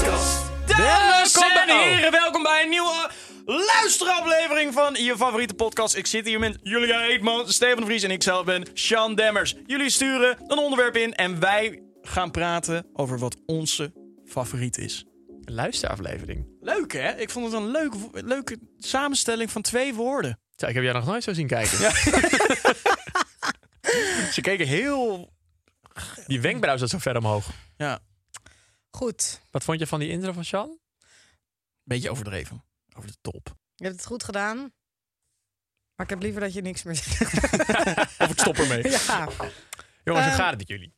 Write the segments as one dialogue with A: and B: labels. A: Dames en heren, welkom bij een nieuwe luisteraflevering van je favoriete podcast. Ik zit hier met Julia Eekman, Steven de Vries en ikzelf ben Sean Demmers. Jullie sturen een onderwerp in en wij gaan praten over wat onze favoriet is.
B: luisteraflevering.
A: Leuk hè? Ik vond het een leuk, wo- leuke samenstelling van twee woorden.
B: Zo, ik heb jou nog nooit zo zien kijken.
A: Ze keken heel...
B: Die wenkbrauw zat zo ver omhoog.
A: Ja, een
C: Goed.
B: Wat vond je van die intro van Sean?
A: beetje overdreven. Over de top.
C: Je hebt het goed gedaan. Maar ik heb liever dat je niks meer zegt.
B: Of ik stop ermee.
C: Ja.
B: Jongens, hoe
C: Ehm,
B: gaat het met jullie?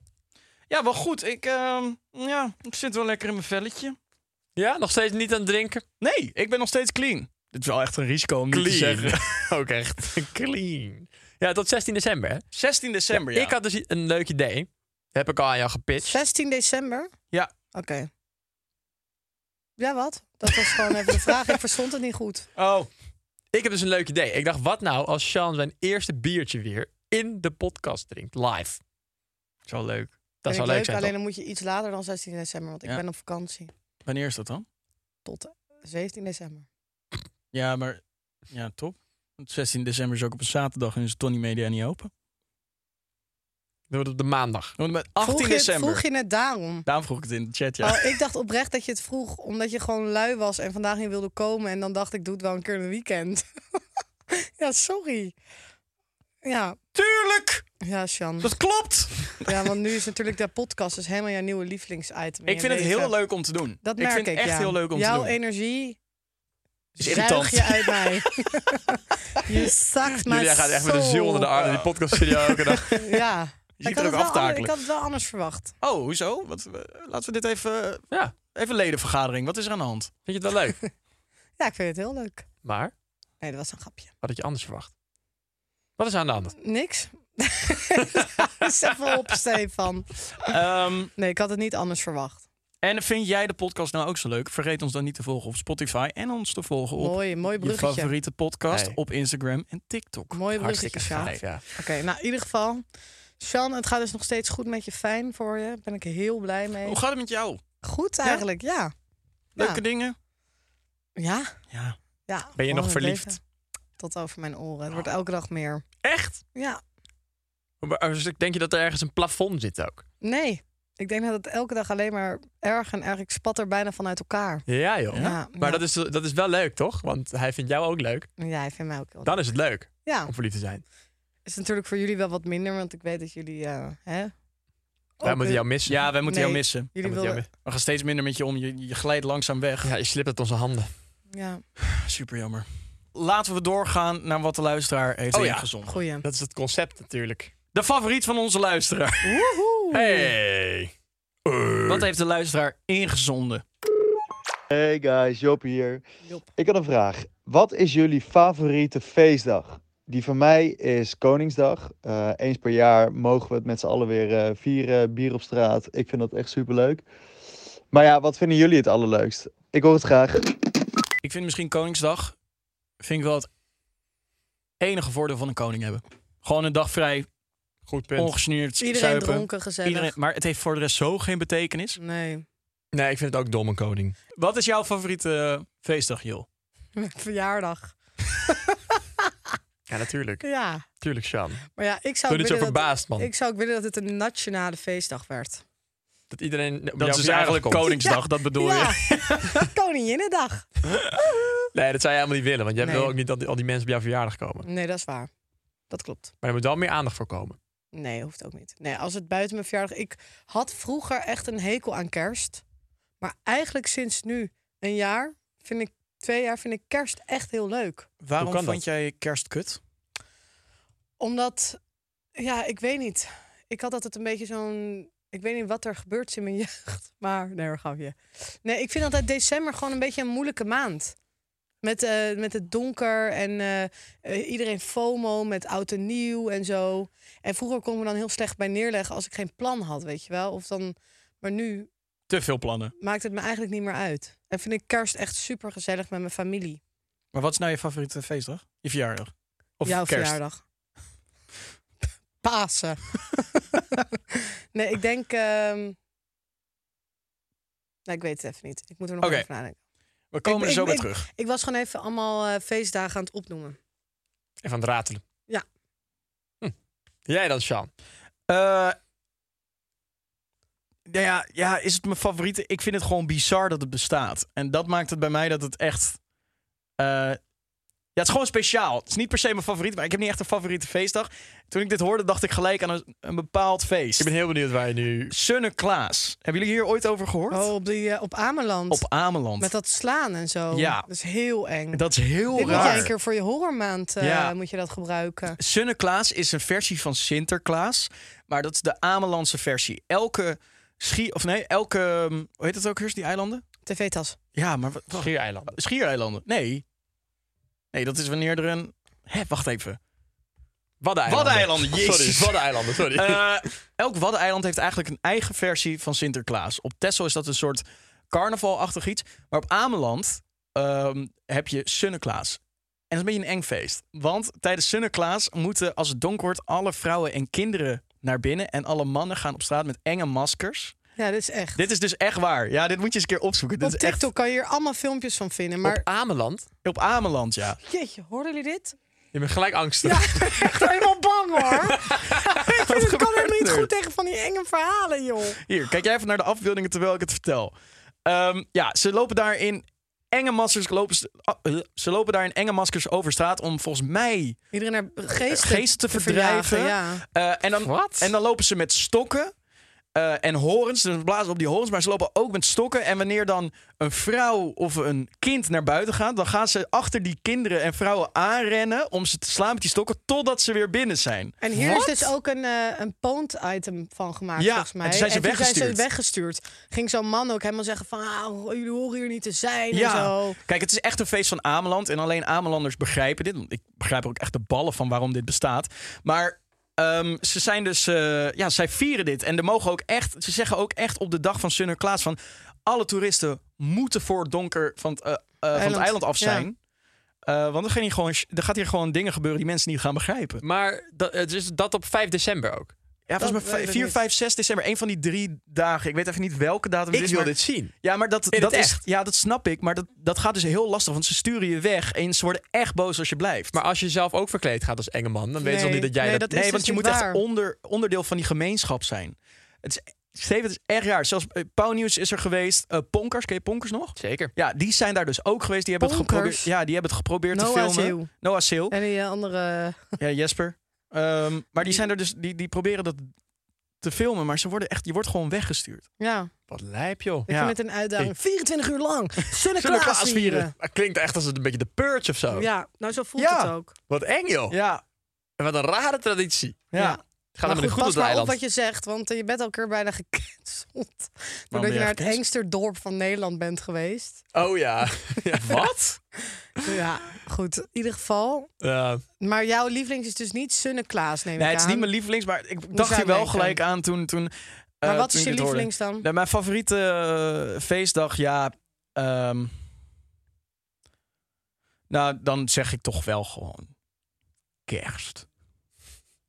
A: Ja, wel goed. Ik, ehm, ja, ik zit wel lekker in mijn velletje.
B: Ja, nog steeds niet aan het drinken?
A: Nee, ik ben nog steeds clean. Dit is wel echt een risico om niet te zeggen.
B: Ook echt. Clean. Ja, tot 16 december. Hè?
A: 16 december, ja.
B: Ik had dus een leuk idee. Heb ik al aan jou gepitcht.
C: 16 december?
A: Ja.
C: Oké. Ja, wat? Dat was gewoon even de vraag. Ik verstond het niet goed.
A: Oh,
B: Ik heb dus een leuk idee. Ik dacht, wat nou als Sean zijn eerste biertje weer in de podcast drinkt? Live.
A: is wel leuk.
B: Dat
C: Vind
B: zou
C: ik
B: leuk zijn.
C: alleen
B: toch?
C: dan moet je iets later dan 16 december, want ik
A: Ja.
C: ben op vakantie.
A: Wanneer is dat dan?
C: Tot 17 december.
A: Ja, maar ja, top. Want 16 december is ook op een zaterdag en is Tony Media niet open.
B: Dan wordt het op de maandag.
A: Want met
C: vroeg
A: 18
C: je,
A: december.
C: Vroeg je het daarom?
A: Daarom vroeg ik het in de chat, ja.
C: Oh, ik dacht oprecht dat je het vroeg omdat je gewoon lui was en vandaag niet wilde komen. En dan dacht ik, doe het wel een keer in een weekend. ja, sorry. Ja,
A: Tuurlijk!
C: ja, Sjan.
A: Dat klopt!
C: Ja, want nu is natuurlijk de podcast dus helemaal jouw nieuwe lievelingsitem. in
A: Ik
C: je
A: vind het
C: leven.
A: heel leuk om te doen.
C: Dat
A: ik
C: merk
A: vind het echt
C: ja.
A: heel leuk om
C: jouw
A: te doen.
C: energie
A: Is
C: zuig je uit mij. je zakt mij
B: Julia gaat echt met een ziel onder de arm in die podcast studio elke dag.
C: Ja.
A: Je ziet er ook
C: ik, had het wel ander-
A: aftakelen.
C: ik had het wel anders verwacht.
A: Oh, hoezo? Wat, eh, laten we dit even...
B: Ja,
A: Even ledenvergadering. Wat is er aan de hand?
B: vind je het wel leuk?
C: Ja, ik vind het heel leuk.
B: Maar?
C: Nee, dat was een grapje.
B: Wat had je anders verwacht? Wat is aan de hand?
C: Niks. Is even op, Stefan.
A: Ehm,
C: Nee, ik had het niet anders verwacht.
A: en vind jij de podcast nou ook zo leuk? Vergeet ons dan niet te volgen op Spotify en ons te volgen op
C: mooi, mooi
A: je
C: bruggetje.
A: favoriete podcast
B: Nee.
A: op Instagram en TikTok.
C: Mooi bruggetje,
B: Hartstikke
C: Sjaak.
B: gaaf, ja.
C: Oké, nou in ieder geval. Sjan, het gaat dus nog steeds goed met je. Fijn voor je. Daar ben ik heel blij mee.
A: Hoe gaat het met jou?
C: Goed eigenlijk, ja.
A: Leuke
C: Ja.
A: dingen?
C: Ja.
A: Ja.
C: Ja,
B: Ben je
C: gewoon
B: nog
C: het
B: verliefd? Oh.
C: leven. Tot over mijn oren. Het wordt elke dag meer.
B: Echt?
C: Ja,
B: Maar als ik denk je dat er ergens een plafond zit ook?
C: nee. Ik denk dat het elke dag alleen maar erg en erg. Ik spat er bijna van uit elkaar.
B: Ja, joh.
C: Ja,
B: maar
C: ja.
B: Dat, is, dat is wel leuk, toch? Want hij vindt jou ook leuk.
C: Ja, hij vindt mij ook heel
B: Dan is het leuk
C: Ja,
B: om verliefd te zijn.
C: is natuurlijk voor jullie wel wat minder, want ik weet dat jullie. eh, hè?
B: Wij
C: Ook,
B: moeten
C: eh,
B: jou missen.
A: Ja, wij moeten jou
C: Nee.
A: missen.
B: Wij
C: Jullie
B: moeten jou
C: wilden.
A: We gaan steeds minder met je om. Je, je glijdt langzaam weg.
B: mi- ja, je slipt uit onze handen.
C: Ja,
A: Super jammer. Laten we doorgaan naar wat de luisteraar heeft
B: Oh ja.
A: ingezonden.
C: goeie.
B: Dat is het concept natuurlijk.
A: De favoriet van onze luisteraar.
C: Woehoe.
B: Hey!
A: Wat heeft de luisteraar ingezonden?
D: Hey guys, Job hier. Ik had een vraag. Wat is jullie favoriete feestdag? Die van mij is Koningsdag. Eh, eens per jaar mogen we het met z'n allen weer eh, vieren, bier op straat. Ik vind dat echt superleuk. Maar ja, wat vinden jullie het allerleukst? Ik hoor het graag.
A: Ik vind misschien Koningsdag. Vind ik wel het enige voordeel van een koning hebben. Gewoon een dag vrij,
B: Goed punt.
A: ongesneerd,
C: Iedereen
A: zuipen.
C: dronken, gezellig.
A: Iedereen- maar het heeft voor de rest zo geen betekenis.
C: Nee.
B: nee, ik vind het ook dom, een koning.
A: Wat is jouw favoriete eh, feestdag, Jul?
C: Verjaardag.
B: Ja, natuurlijk.
C: Ja,
B: Tuurlijk, Sean.
C: maar ja, ik
B: Doe
C: zou, ook
B: niet zo
C: Nou, willen dat-
B: verbaasd, man.
C: ik zou ook willen dat het een nationale feestdag werd.
B: Dat dus iedereen
A: Dat
B: op jouw
A: is
B: verjaardag
A: eigenlijk
B: komt.
A: Koningsdag, dat bedoel
C: Ja,
A: je.
C: Koninginnedag.
B: Nee, dat zou je helemaal niet willen. Want jij
C: Nee.
B: wil ook niet dat al die mensen op jouw verjaardag komen.
C: Nee, dat is waar. Dat klopt.
B: Maar er moet wel meer aandacht voor komen.
C: Nee, hoeft ook niet. Nee, als het buiten mijn verjaardag... Ik had vroeger echt een hekel aan kerst. Maar eigenlijk sinds nu een jaar, vind ik, twee jaar, vind ik kerst echt heel leuk.
B: Hoe kan
A: Waarom
B: dat?
A: vond jij kerst kut?
C: Omdat, ja, ik weet niet. Ik had altijd een beetje zo'n... Ik weet niet wat er gebeurt is in mijn jeugd. Maar, nee, daar gaf je. Nee, ik vind altijd december gewoon een beetje een moeilijke maand. Met, eh, met het donker en eh, eh, iedereen FOMO met oud en nieuw en zo. En vroeger kon ik me dan heel slecht bij neerleggen als ik geen plan had, weet je wel. Of dan, maar nu
A: Te veel plannen.
C: maakt het me eigenlijk niet meer uit. En vind ik kerst echt super gezellig met mijn familie.
A: Maar wat is nou je favoriete feestdag? Je verjaardag? Of
C: Jouw
A: kerst?
C: verjaardag. Pasen. nee, ik denk. ehm, Nee, ik weet het even niet. Ik moet er nog
A: Oké.
C: even nadenken.
A: We komen
C: Ik-
A: er zo
C: ik-
A: bij
C: ik-
A: terug.
C: Ik was gewoon even allemaal eh, feestdagen aan het opnoemen.
B: Even aan het ratelen.
C: Ja.
B: Hm. Jij dan, Sean?
A: Eh, nou ja, ja, is het mijn favoriete? Ik vind het gewoon bizar dat het bestaat. En dat maakt het bij mij dat het echt... eh, ja, het is gewoon speciaal. Het is niet per se mijn favoriet, maar ik heb niet echt een favoriete feestdag. Toen ik dit hoorde, dacht ik gelijk aan een, een bepaald feest.
B: Ik ben heel benieuwd waar je nu...
A: Sunneklaas. Hebben jullie hier ooit over gehoord?
C: Oh, op, die, eh, op Ameland.
A: Op Ameland.
C: Met dat slaan en zo.
A: Ja.
C: Dat is heel eng.
A: Dat is heel
C: Dit moet
A: raar.
C: je een keer voor je horrormaand eh,
A: Ja.
C: moet je dat gebruiken.
A: Sunneklaas is een versie van Sinterklaas, maar dat is de Amelandse versie. Elke schie of nee, elke ehm, hoe heet het ook heus die eilanden?
C: TV-tas.
A: Ja, maar wat- wacht,
B: Schiereilanden.
A: schiereilanden. Nee. Nee, dat is wanneer er een Hè, wacht even.
B: Waddeneilanden.
A: Waddeneilanden, jezus.
B: Sorry, Waddeneilanden, sorry.
A: Eh, elk Waddeneiland heeft eigenlijk een eigen versie van Sinterklaas. Op Texel is dat een soort carnavalachtig iets. Maar op Ameland ehm, heb je Sunneklaas. En dat is een beetje een eng feest. Want tijdens Sunneklaas moeten, als het donker wordt, alle vrouwen en kinderen naar binnen. En alle mannen gaan op straat met enge maskers.
C: Ja, dit is echt.
A: Dit is dus echt waar. Ja, dit moet je eens een keer opzoeken. Dit
C: op
A: is
C: TikTok
A: echt
C: kan je hier allemaal filmpjes van vinden.
B: maar... Op
C: Maar
B: Ameland?
A: op Ameland, ja.
C: jeetje, hoorden jullie dit?
B: Je bent gelijk angstig.
C: echt helemaal bang hoor. ik vind, het kan
A: gebeurt
C: helemaal niet
A: er?
C: goed tegen van die enge verhalen, joh.
A: Hier, kijk jij even naar de afbeeldingen terwijl ik het vertel. Ehm, ja, ze lopen daar in enge maskers. Lopen ze, ah, eh, ze lopen daar in enge maskers over straat om volgens mij
C: Iedereen naar geesten,
A: Eh, geesten te verdrijven.
C: Ja.
A: Eh, en, dan,
B: Wat?
A: en dan lopen ze met stokken eh, en horens. Dus ze blazen op die horens, maar ze lopen ook met stokken. En wanneer dan een vrouw of een kind naar buiten gaat, dan gaan ze achter die kinderen en vrouwen aanrennen om ze te slaan met die stokken totdat ze weer binnen zijn.
C: En hier
A: Wat?
C: is dus ook een, eh een pwned item van gemaakt,
A: Ja,
C: volgens mij.
A: en toen zijn ze weggestuurd.
C: weggestuurd. Ging zo'n man ook helemaal zeggen van... Ah, jullie horen hier niet te zijn en
A: Ja,
C: zo.
A: kijk, het is echt een feest van Ameland. En alleen Amelanders begrijpen dit. Want Ik begrijp er ook echt de ballen van waarom dit bestaat. Maar ehm, ze zijn dus, eh, ja, zij vieren dit. En er mogen ook echt, ze zeggen ook echt op de dag van Sinterklaas van... alle toeristen moeten voor het donker van het, eh, eh, van het
C: Eiland,
A: eiland af
C: ja.
A: zijn. Eh, want er, gaan hier gewoon, er gaat hier gewoon dingen gebeuren die mensen niet gaan begrijpen.
B: Maar dat, het is dat op 5 december ook.
A: Ja, volgens
C: weet
A: mij
C: ik
A: 4,
C: niet.
A: 5, 6 december. Een van die drie dagen. Ik weet even niet welke datum het
B: Ik
A: is.
B: wil
A: maar-
B: dit zien.
A: Ja, maar dat,
B: In
A: dat
B: het
A: is.
B: echt.
A: Ja, dat snap ik. Maar dat, dat gaat dus heel lastig. Want ze sturen je weg en ze worden echt boos als je blijft.
B: Maar als je zelf ook verkleed gaat als enge man, dan weten ze al
C: Nee,
B: niet dat jij
C: nee,
B: dat...
C: dat
A: nee,
C: is dus
A: want je
C: niet
A: moet
C: waar.
A: echt onder, onderdeel van die gemeenschap zijn. Het is, Steven, het is echt raar. Zelfs eh, Pauwnieuws is er geweest. Eh, Ponkers, ken je Ponkers nog?
B: Zeker.
A: Ja, die zijn daar dus ook geweest. Die hebben het
C: Ponkers?
A: geprobeerd, ja, die hebben het geprobeerd te
C: Noah
A: filmen.
C: Zeeuw.
A: Noah Seal.
C: En die eh, andere...
A: Ja, Jesper. Ehm, maar die zijn er dus, die, die proberen dat te filmen. Maar ze worden echt, je wordt gewoon weggestuurd.
C: Ja,
B: Wat lijp, joh.
C: ik
A: Ja.
C: vind het een uitdaging. 24 uur lang. Sinterklaas
B: Sinterklaas
C: vieren.
B: vieren. Dat klinkt echt als het een beetje de purge of zo.
C: Ja, nou zo voelt
A: Ja.
C: het ook.
B: Wat eng, joh.
A: Ja,
B: En Wat een rare traditie.
A: ja.
B: Het gaat
C: maar
B: helemaal niet goed
C: goed,
B: op
C: pas
B: het
C: maar op
B: eiland.
C: wat je zegt, want eh, je bent al een keer bijna gecanceld. Doordat
A: ben
C: je
A: je
C: naar het
A: gecanceld?
C: engste dorp van Nederland bent geweest.
B: Oh ja. Ja, Wat?
C: Ja, goed. In ieder geval.
B: Ja.
C: Maar jouw lievelings is dus niet Sunneklaas, neem ik
A: Nee, het is
C: aan.
A: niet mijn lievelings, maar ik dacht
C: zou
A: hier wel
C: denken.
A: gelijk aan toen... toen
C: Maar
A: eh,
C: wat
A: toen
C: is
A: ik
C: je
A: dit hoorde.
C: lievelings dan?
A: Nou, mijn favoriete eh, feestdag, ja. ehm, nou, dan zeg ik toch wel gewoon kerst.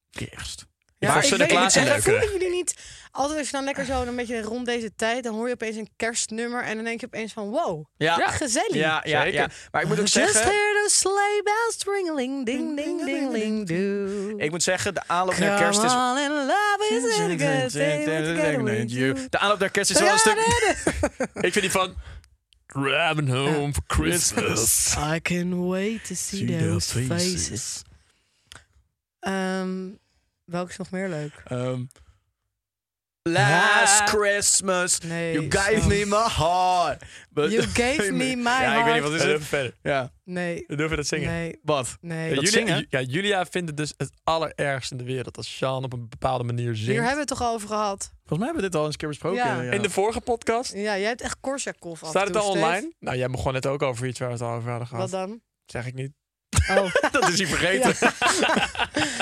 A: Kerst.
B: Ik
C: Ja,
B: vond
C: ik weet
B: Sinterklaas
C: het.
B: een
C: En dat
B: leuke.
C: voelen jullie niet. Altijd als je dan lekker zo een beetje rond deze tijd, dan hoor je opeens een kerstnummer en dan denk je opeens van wow,
A: Ja.
C: gezellig.
A: Ja, ja, ja. Maar ik moet ook
C: Just
A: zeggen,
C: hear the sleigh bells ringling, ding ding ding ding do.
A: ik moet zeggen, de aanloop naar
C: Come
A: kerst is...
C: on in love is a good day with together with you.
A: De aanloop naar kerst is wel een stuk...
B: Ik vind die van... Driving home for Christmas.
C: I can wait to see, those faces. Ehm, welke is nog meer leuk?
A: Ehm, last Christmas,
C: Nee, Ehm,
A: you gave
C: Sam.
A: me my heart. But
C: You gave me my
A: Ja, ik weet niet,
C: heart.
A: wat is
B: En even
A: het?
B: verder.
A: Ja,
C: Nee,
B: Dan durf je dat zingen.
C: nee,
A: wat?
C: nee.
B: Ja,
A: Dat
B: Julia,
A: zingen?
B: Ju- ja, Julia vindt het dus het allerergst in de wereld als Sean op een bepaalde manier
C: Hier hebben
B: zingt.
C: we het toch al over gehad?
A: Volgens mij hebben we dit al eens een keer besproken.
C: Ja.
A: ja.
B: In de vorige podcast
C: Ja, jij hebt echt Korsakov af en
B: Staat het
C: toe,
B: al
C: Steve.
B: online? Nou, jij begon net ook over iets waar we het al over hadden gehad.
C: Wat dan?
B: Zeg ik niet.
C: Oh,
B: Dat is hij vergeten.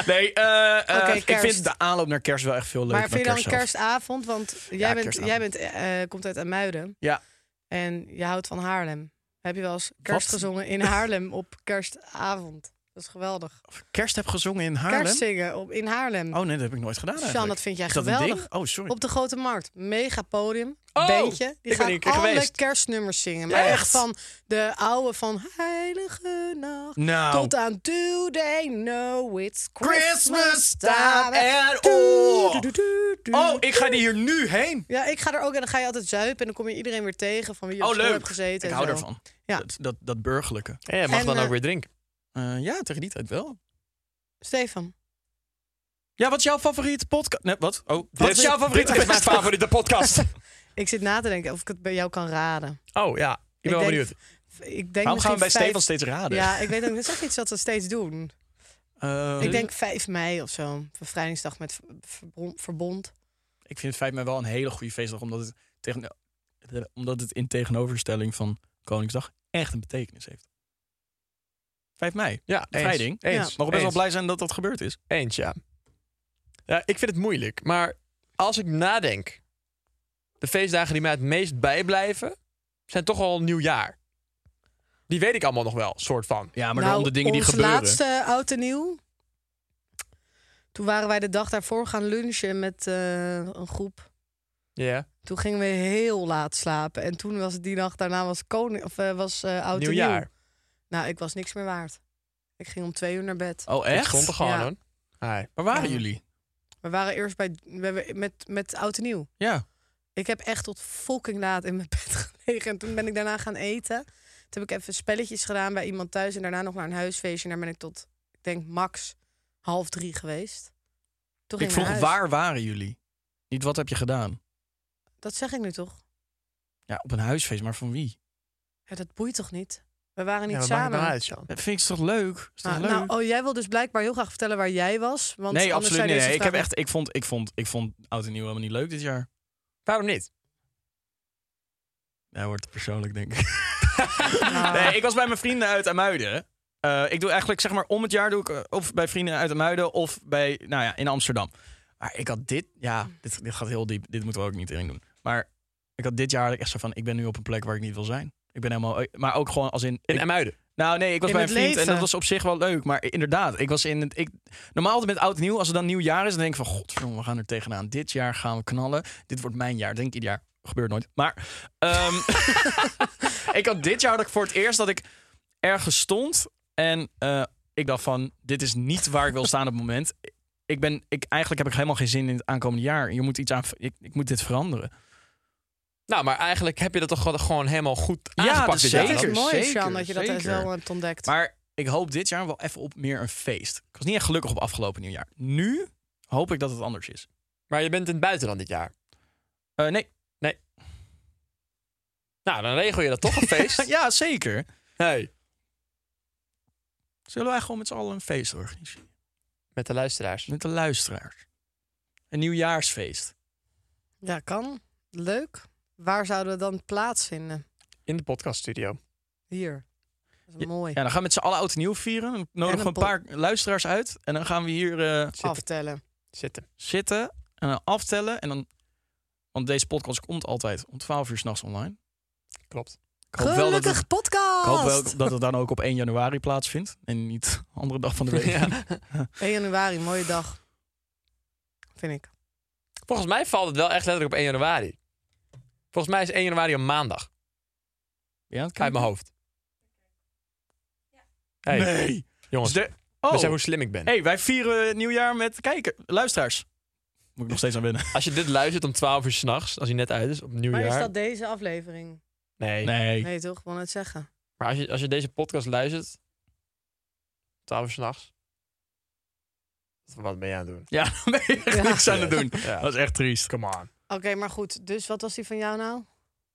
A: Nee, eh, eh,
C: Oké,
A: ik
C: kerst.
A: vind de aanloop naar kerst wel echt veel leuker
C: maar vind je
A: dan
C: dan
A: kerst zelf.
C: kerstavond? Want jij,
A: Ja,
C: bent, jij
A: kerstavond.
C: bent, eh, eh, komt uit Amuiden.
A: Ja.
C: En je houdt van Haarlem. Heb je wel eens kerst gezongen in Haarlem op kerstavond? Dat is geweldig.
A: Kerst heb gezongen in Haarlem?
C: Kerstzingen op, in Haarlem.
A: Oh nee, dat heb ik nooit gedaan eigenlijk.
C: Sjan, dat vind jij
A: Is dat een
C: geweldig.
A: ding? Oh, sorry.
C: Op de Grote Markt. Mega podium.
B: Oh,
C: Beentje. Die
B: ik ben hier
C: gaan
B: een keer
C: alle
B: geweest.
C: kerstnummers zingen. Maar
B: Echt?
C: echt van de oude van Heilige Nacht.
A: Nou.
C: Tot aan Do They Know It's
A: Christmas
C: Christmas
A: time
C: Time.
A: and
C: Doe,
A: all.
C: doe, doe, doe,
A: Oh,
C: doe.
A: ik ga die hier nu heen.
C: Ja, ik ga er ook en dan ga je altijd zuipen en dan kom je iedereen weer tegen van wie je op
A: Oh,
C: school
A: leuk.
C: hebt gezeten.
A: Ik
C: en
A: hou
C: zo.
A: ervan.
C: Ja.
A: Dat, dat, dat burgerlijke.
B: En jij mag
C: En,
B: dan ook
C: eh,
B: weer drinken.
A: Eh, ja, tegen die tijd wel.
C: Stefan.
A: Ja, wat is jouw favoriete podcast? Nee, wat? Oh, wat
B: Dit-
A: is jouw favoriete
B: Dit is mijn favoriete podcast.
C: Ik zit na te denken of ik het bij jou kan raden.
B: Oh ja, ik ben wel
C: denk-
B: benieuwd.
C: Ik denk
A: Waarom gaan we bij
C: misschien
A: Stefan
C: vijf-
A: steeds raden?
C: Ja, ik weet ook, dat is ook iets wat we steeds doen.
A: Eh,
C: Ik denk 5 mei of zo. Bevrijdingsdag met ver- verbron- verbond.
A: ik vind het feit mij wel een hele goede feestdag, omdat het, tegen, eh, omdat het in tegenoverstelling van Koningsdag echt een betekenis heeft. 5 mei.
B: Ja, eens.
A: Bevrijding.
B: Eens.
C: Ja.
A: Mogen we best wel
B: eens.
A: blij zijn dat dat gebeurd is.
B: Eens, ja. ja. Ik vind het moeilijk, maar als ik nadenk... De feestdagen die mij het meest bijblijven, zijn toch al nieuwjaar. Die weet ik allemaal nog wel, soort van.
A: Ja,
C: nou, ons laatste oud en nieuw. Toen waren wij de dag daarvoor gaan lunchen met eh, een groep.
B: Ja.
C: Toen gingen we heel laat slapen. En toen was het die nacht daarna was, koning, of, eh, was eh, oud en nieuw.
B: Nieuwjaar.
C: Nou, ik was niks meer waard. Ik ging om twee uur naar bed.
A: Oh,
B: Ik stond er
A: echt?
B: gewoon,
C: Ja.
B: hoor. Hi.
A: Waar waren
C: Ja.
A: jullie?
C: We waren eerst bij, met, met, met oud en nieuw.
A: Ja.
C: Ik heb echt tot fucking laat in mijn bed gelegen. En toen ben ik daarna gaan eten. Toen heb ik even spelletjes gedaan bij iemand thuis. En daarna nog naar een huisfeestje. En daar ben ik tot, ik denk, max half drie geweest. Toen
A: Ik
C: ging naar
A: vroeg,
C: huis.
A: waar waren jullie? Niet wat heb je gedaan?
C: Dat zeg ik nu toch?
A: Ja, op een huisfeest, maar van wie?
C: Ja, dat boeit toch niet? We waren niet
B: Ja, wat maakt het
C: samen.
B: nou uit, Jan?
A: Dat vind ik toch leuk? Is toch
C: Ah,
A: leuk?
C: nou, oh, jij wil dus blijkbaar heel graag vertellen waar jij was. Want
A: nee,
C: anders
A: absoluut
C: zijn
A: niet.
C: deze
A: Nee, ik, heb
C: vragen-
A: echt, ik, vond, ik, vond, ik vond Oud en Nieuw helemaal niet leuk dit jaar.
B: Waarom niet?
A: Hij wordt persoonlijk, denk ik. nee, ik was bij mijn vrienden uit Amuiden. Eh, ik doe eigenlijk, zeg maar, om het jaar doe ik eh, of bij vrienden uit Amuiden of bij, nou ja, in Amsterdam. Maar ik had dit, ja, dit, dit gaat heel diep. Dit moeten we ook niet in doen. Maar ik had dit jaar had ik echt zo van, ik ben nu op een plek waar ik niet wil zijn. Ik ben helemaal, eh, maar ook gewoon als in,
B: In
A: ik-
B: Amuiden.
A: Nou, nee, ik was
C: In
A: bij een
C: het
A: vriend en
C: leven.
A: dat was op zich wel leuk. Maar inderdaad, ik was in het. Ik, normaal altijd met oud en nieuw, als het dan nieuw jaar is, dan denk ik van godverdomme, we gaan er tegenaan. Dit jaar gaan we knallen. Dit wordt mijn jaar. Denk ik ieder jaar. Gebeurt nooit. Maar ehm, ik had dit jaar dat ik voor het eerst dat ik ergens stond. En eh, ik dacht van, dit is niet waar ik wil staan op het moment. Ik ben, ik, eigenlijk heb ik helemaal geen zin in het aankomende jaar. Je moet iets aan, ik, ik moet dit veranderen.
B: Nou, maar eigenlijk heb je dat toch gewoon- gewoon helemaal goed
A: Ja,
B: aangepakt
A: dat
B: dit
C: Dat
B: jaar?
C: is
A: Zeker,
C: mooi,
A: zeker,
C: Sjan, dat je dat
A: zeker.
C: zo eh, hebt ontdekt.
A: Maar ik hoop dit jaar wel even op meer een feest. Ik was niet echt gelukkig op afgelopen nieuwjaar. Nu hoop ik dat het anders is.
B: Maar je bent in het buitenland dit jaar.
A: Eh, nee.
B: Nou, dan regel je dat toch een feest.
A: ja, zeker.
B: Hey.
A: Zullen wij gewoon met z'n allen een feest organiseren?
B: Met de luisteraars.
A: Met de luisteraars. Een nieuwjaarsfeest.
C: Ja, kan. Leuk. Waar zouden we dan plaatsvinden?
B: In de podcaststudio.
C: Hier. Dat is mooi.
A: Ja, dan gaan we met z'n allen oud en nieuw vieren. Dan nodigen we
C: een
A: een
C: pop-
A: paar luisteraars uit. En dan gaan we hier eh,
C: Aftellen.
B: Zitten.
A: zitten en dan aftellen. En dan, want deze podcast komt altijd om 12 uur s'nachts online.
B: Klopt.
A: Ik hoop wel dat
C: Gelukkig
A: het, ik
C: podcast!
A: hoop wel dat het dan ook op 1 januari plaatsvindt. En niet andere dag van de week.
B: Ja.
C: 1 januari, mooie dag. vind ik.
B: Volgens mij valt het wel echt letterlijk op 1 januari. Volgens mij is 1 januari een maandag.
A: Ja, het
B: Uit mijn hoofd. Hey,
A: Nee.
B: jongens.
A: Dus de- oh.
B: Besef hoe slim ik ben.
A: hey, wij vieren het nieuwjaar met kijken, luisteraars. Moet ik nog steeds aan winnen.
B: Als je dit luistert om 12 uur s'nachts, als hij net uit is, op
C: Maar
B: nieuwjaar.
C: is dat deze aflevering?
B: Nee.
A: Nee.
C: Nee, toch? Ik wou net zeggen.
B: Maar als je, als je deze podcast luistert, 12 uur s'nachts. Wat ben jij aan het doen?
A: Ja, dan ben je echt
C: Ja.
A: niks aan het doen.
B: Ja.
A: Dat is echt triest. Come on.
C: Oké, maar goed. Dus wat was die van jou nou?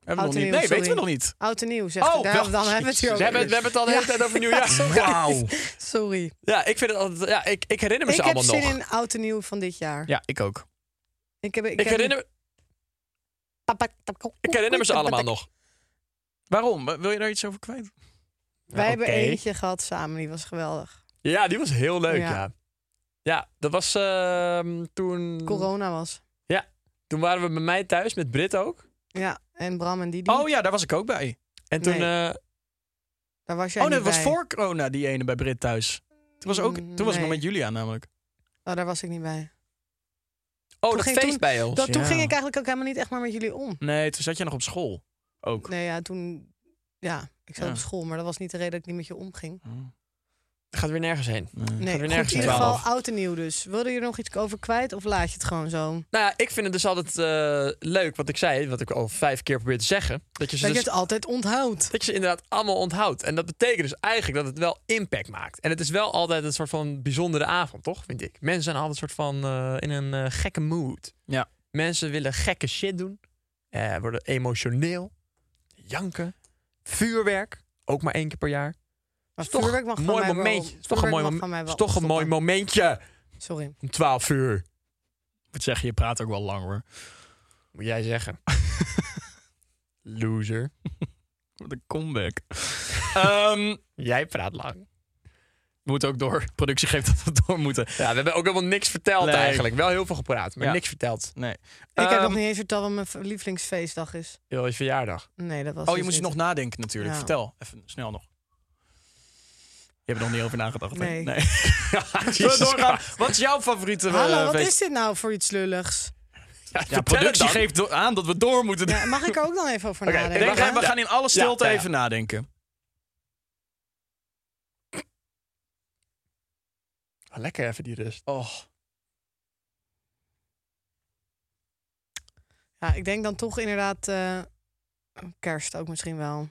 A: Hebben we nog
C: Oud en
A: niet. Nee,
C: nieuw,
A: weten we
C: sorry.
A: nog niet.
C: Oud en nieuw, zegt
A: Oh,
C: hij. Daar-
A: wel,
C: Dan hebben we het hier
B: We hebben, het- we hebben het al de hele tijd over nieuwjaar.
A: Wauw.
C: Sorry.
B: Ja, ik vind het altijd. Ja, ik, ik herinner me
C: Ik
B: ze
C: heb
B: allemaal
C: zin
B: nog.
C: in oud en nieuw van dit jaar.
A: Ja, ik ook.
C: Ik, heb,
B: Ik herinner, ik herinner me ze allemaal nog.
A: Waarom? Wil je daar iets over kwijt?
C: Wij hebben
B: Oké.
C: eentje gehad samen, die was geweldig.
B: Ja, die was heel leuk, ja.
C: Ja.
B: Ja, dat was ehm, toen...
C: Corona was.
B: Toen waren we bij mij thuis, met Brit ook.
C: Ja, en Bram en Didi.
A: Oh ja, daar was ik ook bij.
B: En toen...
C: Nee.
B: eh,
C: Daar was jij
A: Oh nee,
C: niet
A: dat was
C: bij.
A: voor corona die ene bij Brit thuis. Toen was, ook, toen was ik nog
C: Nee.
A: met Julia namelijk.
C: Oh, daar was ik niet bij.
B: oh, dat
C: ging-
B: feest
C: toen-
B: bij ons.
C: Dat, Toen
A: ja.
C: ging ik eigenlijk ook helemaal niet echt maar met jullie om.
A: Nee, toen zat jij nog op school. Ook.
C: Nee, ja, toen... Ja, ik zat
A: Ja.
C: op school, maar dat was niet de reden dat ik niet met je omging.
B: Gaat weer nergens heen.
C: Oh. Nee,
B: weer
C: goed,
B: nergens
C: in ieder
B: heen.
C: geval oud en nieuw dus. Wilde je er nog iets over kwijt of laat je het gewoon zo?
B: Nou ja, ik vind het dus altijd eh, leuk, wat ik zei, wat ik al vijf keer probeer te zeggen. Dat je ze,
C: Dat je
B: dus-
C: het altijd onthoudt.
B: dat je ze inderdaad allemaal onthoudt. En dat betekent dus eigenlijk dat het wel impact maakt. En het is wel altijd een soort van bijzondere avond, toch? Vind ik. Mensen zijn altijd een soort van eh, in een eh, gekke mood.
A: Ja.
B: Mensen willen gekke shit doen. Eh, worden emotioneel. Janken. Vuurwerk. Ook maar één keer per jaar.
C: Maar
B: Is toch
C: vuurwerk mag
B: een
C: van
B: mooi
C: mij wel-
B: momentje. Is toch een
C: vuurwerk
B: mooi
C: mag
B: mom-
C: van mij wel
B: is toch een mooi
C: stoppen.
B: momentje
C: Sorry.
B: om 12 uur.
A: Ik moet zeggen, je praat ook wel lang hoor.
B: Moet jij zeggen. Loser.
A: Wat een comeback. Ehm,
B: Jij praat lang.
A: we moeten ook door. Productie geeft dat we door moeten.
B: Ja, we hebben ook helemaal niks verteld
A: Nee.
B: eigenlijk. Wel heel veel gepraat, maar
A: Ja.
B: niks verteld.
A: Nee.
C: Ik heb
A: Ehm,
C: nog niet eens verteld wat mijn v- lievelingsfeestdag is.
B: Heel je verjaardag.
C: Nee, dat was
A: Oh, je
C: dus
A: moest
C: niet.
A: nog nadenken natuurlijk.
C: Ja.
A: Vertel, even snel nog. Je hebt er nog niet over nagedacht. hè?
C: Nee.
A: Zullen we
B: Jezus
A: doorgaan? Wat is jouw favoriete eh,
C: Hallo, wat
A: feest?
C: is dit nou voor iets lulligs?
A: Ja, productie geeft do- aan dat we door moeten.
C: Ja, mag ik er ook dan even over
B: Oké,
C: nadenken?
A: Denk,
B: we gaan-
A: we gaan in alle stilte
B: ja, ja.
A: even nadenken.
B: Ah, Lekker even die rust.
A: Oh,
C: Ja, ik denk dan toch inderdaad eh, kerst ook misschien wel.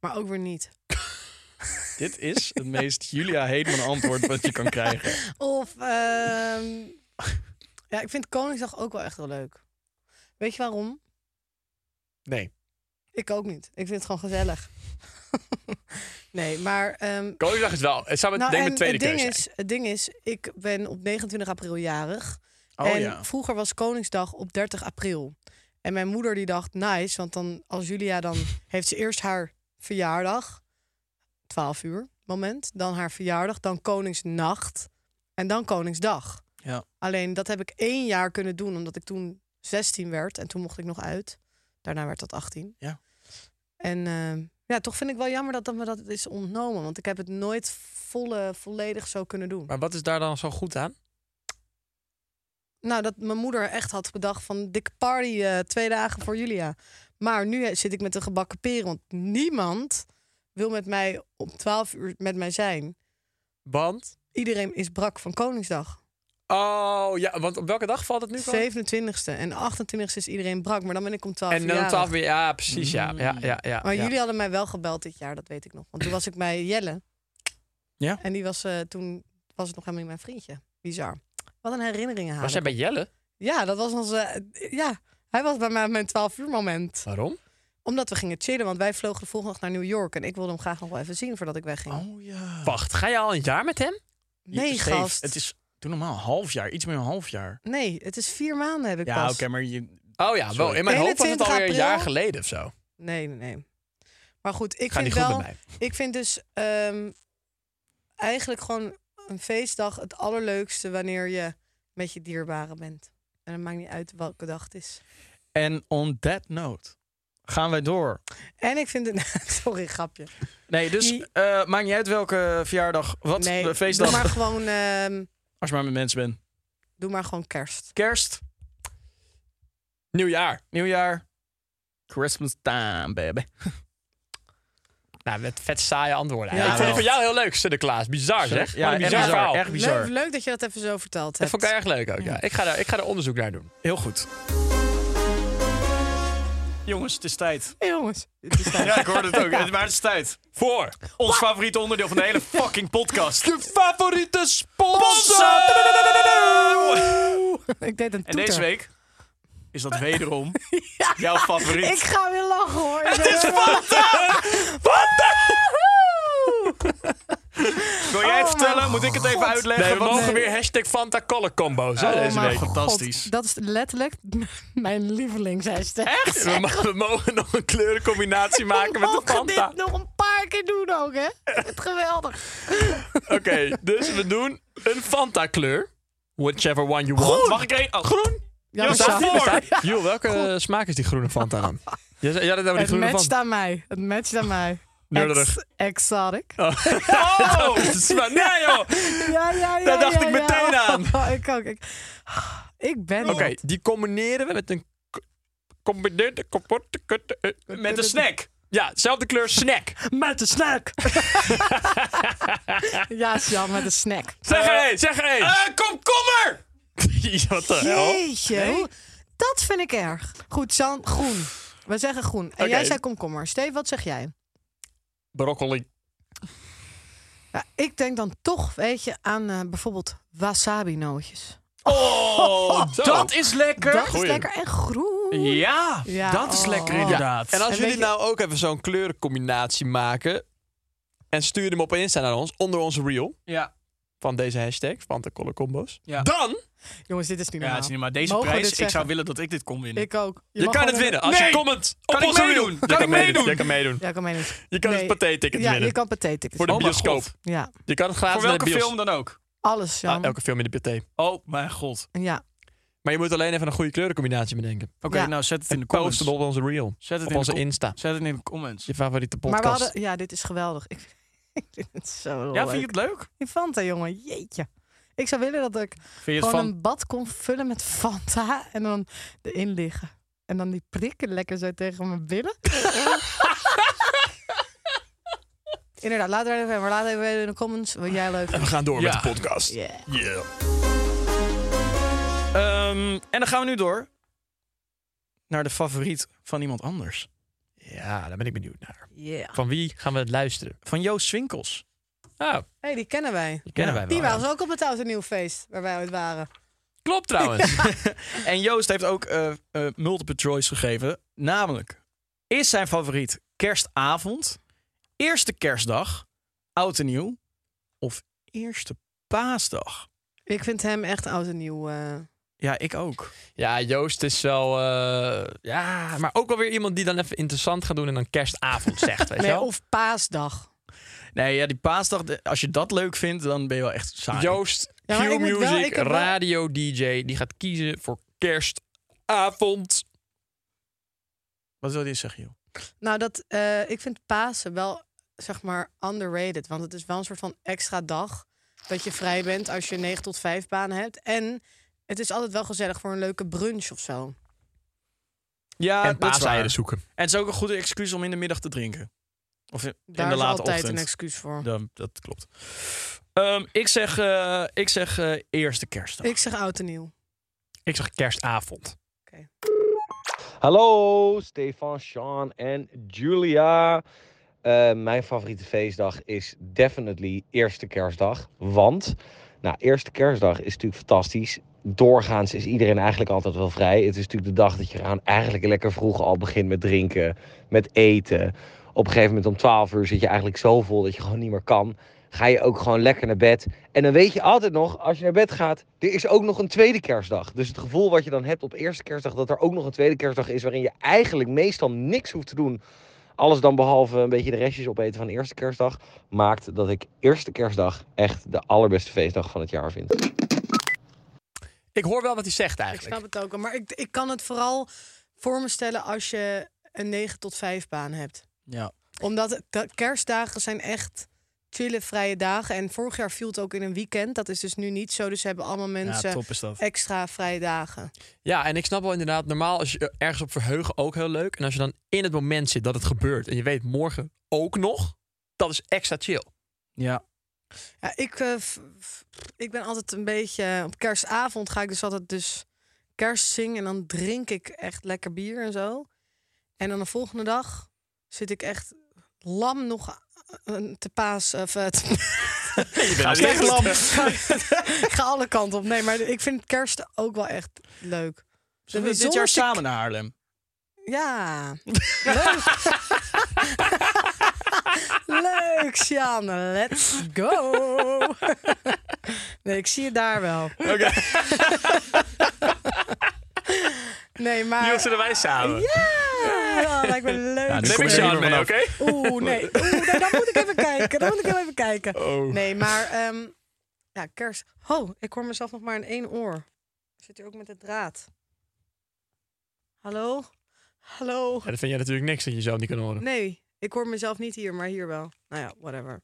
C: Maar ook weer niet.
A: dit is het meest Julia Heetman antwoord wat je kan krijgen.
C: Of, ehm, ja, ik vind Koningsdag ook wel echt heel leuk. Weet je waarom?
B: Nee.
C: Ik ook niet. Ik vind het gewoon gezellig. nee, maar... ehm,
B: Koningsdag is wel. Het zou met,
C: nou,
B: denk
C: en
B: ik mijn tweede
C: het ding
B: keuze zijn.
C: is, Het ding is, ik ben op 29 april jarig.
A: Oh
C: en
A: ja.
C: vroeger was Koningsdag op 30 april. En mijn moeder die dacht, nice, want dan als Julia dan heeft ze eerst haar verjaardag, 12 uur moment, dan haar verjaardag, dan Koningsnacht en dan Koningsdag.
A: Ja.
C: Alleen dat heb ik één jaar kunnen doen, omdat ik toen 16 werd en toen mocht ik nog uit. Daarna werd dat 18.
A: Ja.
C: En eh, ja, toch vind ik wel jammer dat, dat me dat is ontnomen, want ik heb het nooit volle, volledig zo kunnen doen.
B: Maar wat is daar dan zo goed aan?
C: Nou, dat mijn moeder echt had bedacht van dikke party eh, twee dagen voor Julia. Maar nu eh, zit ik met een gebakken peren, want niemand wil met mij om 12 uur met mij zijn.
B: Want.
C: Iedereen is brak van Koningsdag.
B: Oh ja, want op welke dag valt het nu? Koning?
C: 27e en 28e is iedereen brak, maar dan ben ik om 12 uur.
B: En dan om
C: jarig.
B: 12 uur. Ja, precies. Ja, ja, ja. ja
C: Mm. Maar
B: ja.
C: jullie hadden mij wel gebeld dit jaar, dat weet ik nog. Want toen was ik bij Jelle.
A: Ja.
C: En die was, eh, toen was het nog helemaal niet mijn vriendje. Bizar. Wat een herinneringen halen.
B: Was jij bij Jelle?
C: Ja, dat was onze... eh, ja, hij was bij mij op mijn 12 uur moment.
B: Waarom?
C: Omdat we gingen chillen, want wij vlogen de volgende dag naar New York. En ik wilde hem graag nog wel even zien voordat ik wegging.
A: Oh ja.
B: Wacht, ga je al een jaar met hem?
C: nee,
A: Steef,
C: gast.
A: Het is toen normaal een half jaar. Iets meer dan een half jaar.
C: Nee, het is vier maanden heb ik
A: Ja,
C: pas.
A: oké, maar je...
B: Oh ja, wel. In mijn hoofd was het
C: 21
B: alweer een jaar
C: april.
B: geleden of zo.
C: Nee, nee, nee. Maar goed, ik
B: Gaat niet
C: vind
B: goed
C: wel...
B: met mij.
C: Ik vind dus ehm, eigenlijk gewoon een feestdag het allerleukste wanneer je met je dierbaren bent. En het maakt niet uit welke dag het is.
A: En on that note gaan wij door.
C: En ik vind het... Sorry, grapje.
A: Nee, dus
C: Die-
A: eh, maakt niet uit welke verjaardag, wat
C: nee,
A: de
C: doe
A: feestdag,
C: maar gewoon... ehm,
A: als je maar met mensen bent.
C: Doe maar gewoon kerst.
A: Kerst,
B: Nieuwjaar.
A: nieuwjaar, Christmas time, baby.
B: Nou, met vet saaie antwoorden.
C: Ja,
B: ik vond het
A: wel.
B: voor jou heel leuk, Sinterklaas. Bizar
A: Sorry.
B: zeg.
A: Ja,
B: Ja,
A: echt
B: een bizar,
A: bizar.
B: verhaal.
A: Echt bizar.
C: Leuk, leuk dat je dat even zo
B: Dat
C: verteld hebt.
B: vond ik erg leuk ook, ja. Ik ga daar, ik ga daar onderzoek naar doen.
A: Heel goed. Jongens, het is tijd.
C: Hey, jongens.
A: Ja, ik hoorde het ook. Maar het is tijd.
B: Voor
A: Ons favoriete onderdeel van de hele fucking podcast.
B: de favoriete sponsor!
A: Sponsor!
C: ik deed
A: En
C: een toeter.
A: deze week is dat wederom jouw favoriet.
C: Ik ga weer lachen hoor. Ik ben-
A: Wil jij het
C: Oh
A: vertellen?
C: mijn
A: Moet ik het even
C: God.
A: uitleggen?
B: Nee, we
A: Want-
B: mogen weer hashtag Fanta Cola combo's hè,
A: Oh
B: deze
A: mijn
B: week.
A: God. Fantastisch.
C: dat is letterlijk mijn lievelingshashtag. Echt?
B: We, mag- we mogen nog een kleurencombinatie maken met de Fanta.
C: dit nog een paar keer doen ook, hè? Het geweldig.
B: Oké, dus we doen een Fanta kleur. Whichever one you want.
A: Mag ik er één? Oh. Groen.
C: Ja,
A: Ja,
C: maar
A: staat
C: zo-
A: voor.
B: Joel, welke eh, smaak is die groene Fanta dan? Jij zei- jij had het over die
C: Het
B: groene
C: matcht
B: Fanta.
C: aan mij. Het matcht aan mij.
B: Nerdig. Ah.
C: Ex- Exotic.
B: Oh, dat is maar- nee joh!
C: Ja, ja, ja.
B: Daar dacht
C: ja,
B: ik
C: ja.
B: meteen aan.
C: Oh, ik ook. Ik, ik ben
B: Oké,
C: iemand.
B: die combineren we met een... k- Combineerde kapotte kutte... eh,
A: Met een snack.
B: Ja, dezelfde kleur snack.
C: Met de snack. ja, Sjan, met de snack.
B: Zeg er één, zeg er één.
A: Eh, komkommer!
B: Jezus, Wat de hel?
C: Jeetje. hoe- Dat vind ik erg. Goed, Sjan, groen. We zeggen groen.
B: Oké.
C: En jij zei komkommer. Steve, wat zeg jij?
B: Broccoli.
C: Ja, ik denk dan toch, weet je, aan eh, bijvoorbeeld wasabi-nootjes.
A: Oh,
B: Zo.
A: dat is lekker.
C: Dat
B: goeie.
C: is lekker en groen.
A: Ja,
C: Ja,
A: dat is
C: oh.
A: lekker
C: Ja.
A: inderdaad.
B: En als
C: En
B: jullie
C: weet je-
B: nou ook even zo'n kleurencombinatie maken... en stuur hem op Insta naar ons, onder onze reel...
A: Ja.
B: van deze hashtag, van de Color Combos...
A: Ja.
B: dan
C: Jongens, dit is niet
A: Ja,
C: normaal.
A: het is niet maar deze
C: Mogen we
A: prijs.
C: dit
A: Ik zou
C: zeggen?
A: willen dat ik dit kon winnen.
C: Ik ook.
B: je,
C: mag
B: kan
C: gewoon
B: het winnen
C: een-
B: als
A: Nee!
B: je comment
A: Kan
B: op
A: ik
B: onze reel.
A: meedoen?
B: Je
A: Kan ik meedoen?
B: Je kan meedoen.
C: Ja, kan mij niet.
B: Je kan
C: Nee.
B: het pathé-ticket
C: Ja,
B: winnen.
C: je kan pathé-tickets.
B: Voor de
A: Oh mijn
B: bioscoop.
A: god.
C: Ja,
B: Je kan het
A: Voor
B: gratis naar
A: welke
B: de bios.
A: film dan ook.
C: alles, Jan.
B: Ah, elke film in de pathé.
A: Oh mijn god.
C: Ja,
B: Maar je moet alleen even een goede kleurencombinatie bedenken.
A: Oké,
C: Ja.
A: nou zet het in de
B: En post
A: comments.
B: het op onze reel.
A: Zet het
B: Op
A: in de
B: onze
A: com-
B: Insta.
A: Zet het in de comments.
B: Je favoriete
C: maar
B: podcast.
C: we hadden... Ja, dit is geweldig. Ik, ik vind het zo
A: Ja,
C: leuk.
A: vind je het leuk?
C: Die Fanta, jongen. Jeetje. Ik zou willen dat ik
A: Vind je het
C: gewoon
A: van...
C: een bad kon vullen met Fanta en dan erin liggen. En dan die prikken lekker zo tegen mijn billen. Inderdaad, laat er even, maar laat even weten in de comments wat jij leuk
B: En
C: vindt.
B: we gaan door
A: Ja.
B: met de podcast.
C: Yeah.
B: Yeah.
A: Ehm, en dan gaan we nu door naar de favoriet van iemand anders.
B: Ja, daar ben ik benieuwd naar.
C: Yeah.
B: Van wie gaan we het luisteren?
A: Van Joost Swinkels.
B: Oh,
C: hey, die kennen wij.
B: die kennen
A: Ja.
B: wij wel.
C: Die
B: ja.
C: waren ze ook op het oud en nieuw feest waar wij ooit waren.
B: Klopt trouwens.
A: En Joost heeft ook eh, eh, multiple choice gegeven. Namelijk, is zijn favoriet kerstavond, eerste kerstdag, oud en nieuw of eerste paasdag?
C: Ik vind hem echt oud en nieuw. eh.
A: Ja, ik ook.
B: Ja, Joost is wel... eh, ja, maar ook wel weer iemand die dan even interessant gaat doen en dan kerstavond zegt, weet je
C: nee,
B: wel?
C: of paasdag.
A: Nee, ja, die paasdag, de- als je dat leuk vindt, dan ben je wel echt saai.
B: Joost,
C: Ja, maar ik moet wel-
B: Q-Music,
C: ik heb wel-
B: radio DJ, die gaat kiezen voor kerstavond.
A: Wat wil je zeggen, joh?
C: Nou, dat, eh, ik vind Pasen wel, zeg maar, underrated. Want het is wel een soort van extra dag dat je vrij bent als je een 9 tot 5 baan hebt. En het is altijd wel gezellig voor een leuke brunch of zo.
A: Ja,
B: en
A: dat is waar.
B: paaseieren zoeken.
A: En het is ook een goede excuus om in de middag te drinken. Of in
C: Daar
A: in de
C: is
A: late
C: altijd
A: ochtend.
C: een excuus voor.
A: Dan- dat klopt. Ehm, ik zeg, eh, ik zeg eh, eerste kerstdag.
C: Ik zeg oud en nieuw.
B: Ik zeg kerstavond.
E: Hallo, Stefan, Sean en Julia. Eh, mijn favoriete feestdag is definitely eerste kerstdag. Want, nou, eerste kerstdag is natuurlijk fantastisch. Doorgaans is iedereen eigenlijk altijd wel vrij. Het is natuurlijk de dag dat je gewoon eigenlijk lekker vroeg al begint met drinken, met eten. Op een gegeven moment om 12 uur zit je eigenlijk zo vol dat je gewoon niet meer kan. Ga je ook gewoon lekker naar bed. En dan weet je altijd nog, als je naar bed gaat, er is ook nog een tweede kerstdag. Dus het gevoel wat je dan hebt op eerste kerstdag, dat er ook nog een tweede kerstdag is, waarin je eigenlijk meestal niks hoeft te doen. Alles dan behalve een beetje de restjes opeten van de eerste kerstdag, maakt dat ik eerste kerstdag echt de allerbeste feestdag van het jaar vind.
B: Ik hoor wel wat hij zegt
C: Ik
B: eigenlijk.
C: snap het ook. al, Maar ik, ik kan het vooral voor me stellen als je een 9 tot 5 baan hebt.
A: Ja.
C: Omdat het- dat kerstdagen zijn echt chille vrije dagen. En vorig jaar viel het ook in een weekend. Dat is dus nu niet zo. Dus ze hebben allemaal mensen
A: top is dat.
C: extra vrije dagen.
B: Ja, en ik snap wel inderdaad, normaal als je je ergens op verheugen ook heel leuk. En als je dan in het moment zit dat het gebeurt en je weet morgen ook nog, dat is extra chill.
A: Ja.
C: Ja, ik, eh, f- f- ik ben altijd een beetje... Op kerstavond ga ik dus altijd dus kerst zingen. En dan drink ik echt lekker bier en zo. En dan de volgende dag zit ik echt lam nog eh, te paas... Of, eh, te-
A: Ga
C: Ik ben lam. ik ga alle kanten op. Nee, maar ik vind kerst ook wel echt leuk.
A: Zullen we dit jaar
C: Zonnetje-
A: samen naar Haarlem?
C: Ja. Leuk. Leuk, Sjane. Let's go. Nee, ik zie je daar wel.
A: Oké,
C: Nee, maar...
B: zullen wij samen.
C: Ja, lijkt me leuk.
A: nu kom ik
C: zeg.
A: Sjaan mee, oké?
C: Oeh, nee. Oeh, nee, dan moet ik even kijken. Dan moet ik heel even kijken.
B: Oh.
C: Nee, maar... ehm, ja, kerst. Oh, ik hoor mezelf nog maar in één oor. Ik zit hier ook met de draad. Hallo? Hallo?
B: Ja, dat vind jij natuurlijk niks dat je zelf niet kan horen.
C: Nee, ik hoor mezelf niet hier, maar hier wel. Nou ja, whatever.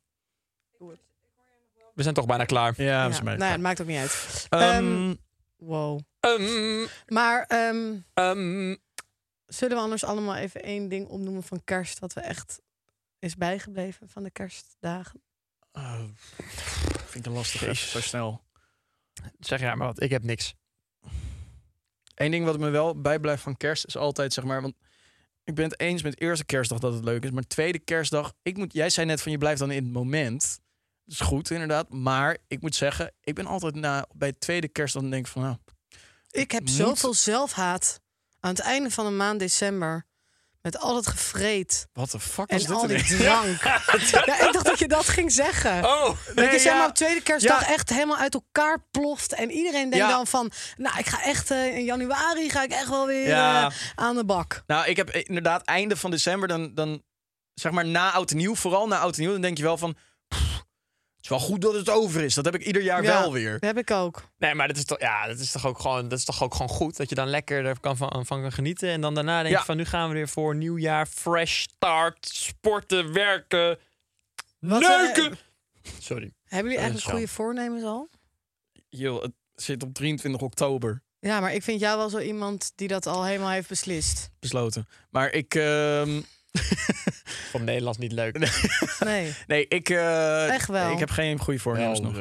B: We zijn toch bijna klaar.
A: Ja,
C: Ja, nou ja, het maakt ook niet uit.
A: Ehm,
C: Wow.
B: Ehm,
C: Maar ehm,
B: ehm,
C: zullen we anders allemaal even één ding opnoemen van kerst... dat we echt is bijgebleven van de kerstdagen?
A: eh, vind ik een lastig
B: Jezus.
A: even zo snel.
B: zeg ja, maar wat, ik heb niks.
A: Eén ding wat me wel bijblijft van kerst is altijd zeg maar, want ik ben het eens met eerste kerstdag dat het leuk is, maar tweede kerstdag, ik moet, jij zei net van je blijft dan in het moment. Dat is goed inderdaad, maar ik moet zeggen, ik ben altijd na bij tweede kerstdag dan denk ik van, nou,
C: Ik heb
A: Moet-
C: zoveel zelfhaat aan het einde van de maand december... met al dat gevreed
A: wat de fuck is
C: en
A: dit?
C: al die
A: ineens?
C: drank. Ja, ik dacht dat je dat ging zeggen.
B: Oh,
C: Dat je zeg maar
A: ja.
C: op tweede kerstdag
A: Ja.
C: echt helemaal uit elkaar ploft. En iedereen denkt
A: Ja.
C: dan van... Nou, ik ga echt eh, in januari ga ik echt wel weer
A: Ja.
C: eh, aan de bak.
A: Nou, ik heb eh, inderdaad einde van december dan, dan zeg maar na oud en nieuw, vooral na oud en nieuw, dan denk je wel van, "Pff, het is wel goed dat het over is. Dat heb ik ieder jaar
C: Ja.
A: wel weer.
C: Dat heb ik ook.
B: Nee, maar dat is toch, ja, dat is toch, ook, gewoon, dat is toch ook gewoon goed. Dat je dan lekker er kan van, van kan genieten. En dan daarna denk je
A: Ja.
B: van nu gaan we weer voor nieuwjaar, fresh start, sporten, werken,
C: Wat,
B: neuken.
C: eh,
B: Sorry.
C: hebben
B: Dat
C: jullie eigenlijk
B: is
C: goede voornemens al?
A: Yo, het zit op 23 oktober
C: Ja, maar ik vind jou wel zo iemand die dat al helemaal heeft beslist.
A: besloten. Maar ik, ehm,
B: Van Nederlands niet leuk.
C: Nee.
A: nee, ik, eh,
C: Echt wel.
A: ik heb geen goede voornemens nog.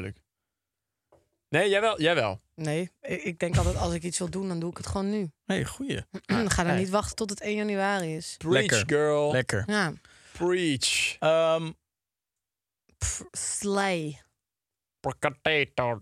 B: Nee, jij wel. Jij wel.
C: Nee, ik ik denk altijd als ik iets wil doen, dan doe ik het gewoon nu.
A: Nee, goeie.
C: Ga dan
B: hey.
C: niet wachten tot het 1 januari is.
B: Preach,
A: Lekker.
B: girl.
A: Lekker.
C: Ja,
B: Preach.
A: Ehm,
C: Pff, slay.
B: Potato.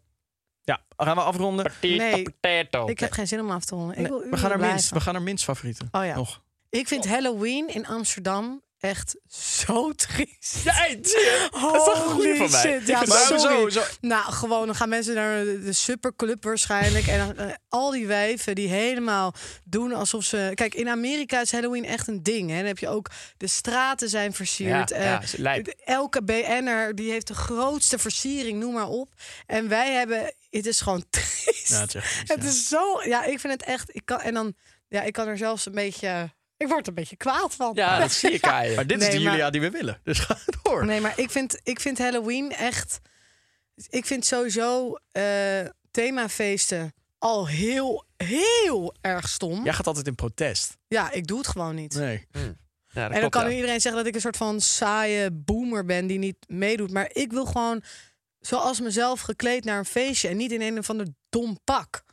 A: ja, gaan we afronden.
B: Petite
C: Nee,
B: potato.
C: Ik heb geen zin om af te ronden. Ik wil
A: Nee, we,
C: uren
A: gaan naar
C: blijven.
A: minst, we gaan naar minst favorieten.
C: Oh ja.
A: Nog.
C: Ik vind Halloween in Amsterdam echt zo triest.
B: Ja, hey, zie je?
C: Holy
B: Dat is toch een goeie van mij.
C: shit, ja,
B: Maar
C: sorry.
B: sowieso-
C: Nou, gewoon, dan gaan mensen naar de de superclub waarschijnlijk. En dan, eh, al die wijven die helemaal doen alsof ze... Kijk, in Amerika is Halloween echt een ding. Hè? Dan heb je ook... De straten zijn
B: Ja,
C: versierd. eh,
B: ja, is lijp.
C: Elke BN'er die heeft de grootste versiering, noem maar op. En wij hebben... Het is gewoon triest.
A: Ja, het is echt triest,
C: het
A: ja.
C: is zo... Ja, ik vind het echt... Ik kan, en dan... Ja, ik kan er zelfs een beetje... Ik word er een beetje kwaad van.
B: Ja, dat zie ik aan je.
A: Maar dit is
C: Nee,
A: de
C: maar-
A: Julia die we willen. Dus ga door.
C: Nee, maar ik vind, ik vind Halloween echt. Ik vind sowieso eh, themafeesten al heel, heel erg stom. Ja.
A: Jij gaat altijd in protest.
C: ik doe het gewoon niet.
A: Nee.
B: Ja, dat
C: en
B: klopt,
C: dan kan
B: ja.
C: nu iedereen zeggen dat ik een soort van saaie boomer ben die niet meedoet. Maar ik wil gewoon zoals mezelf gekleed naar een feestje en niet in een of ander dom pak.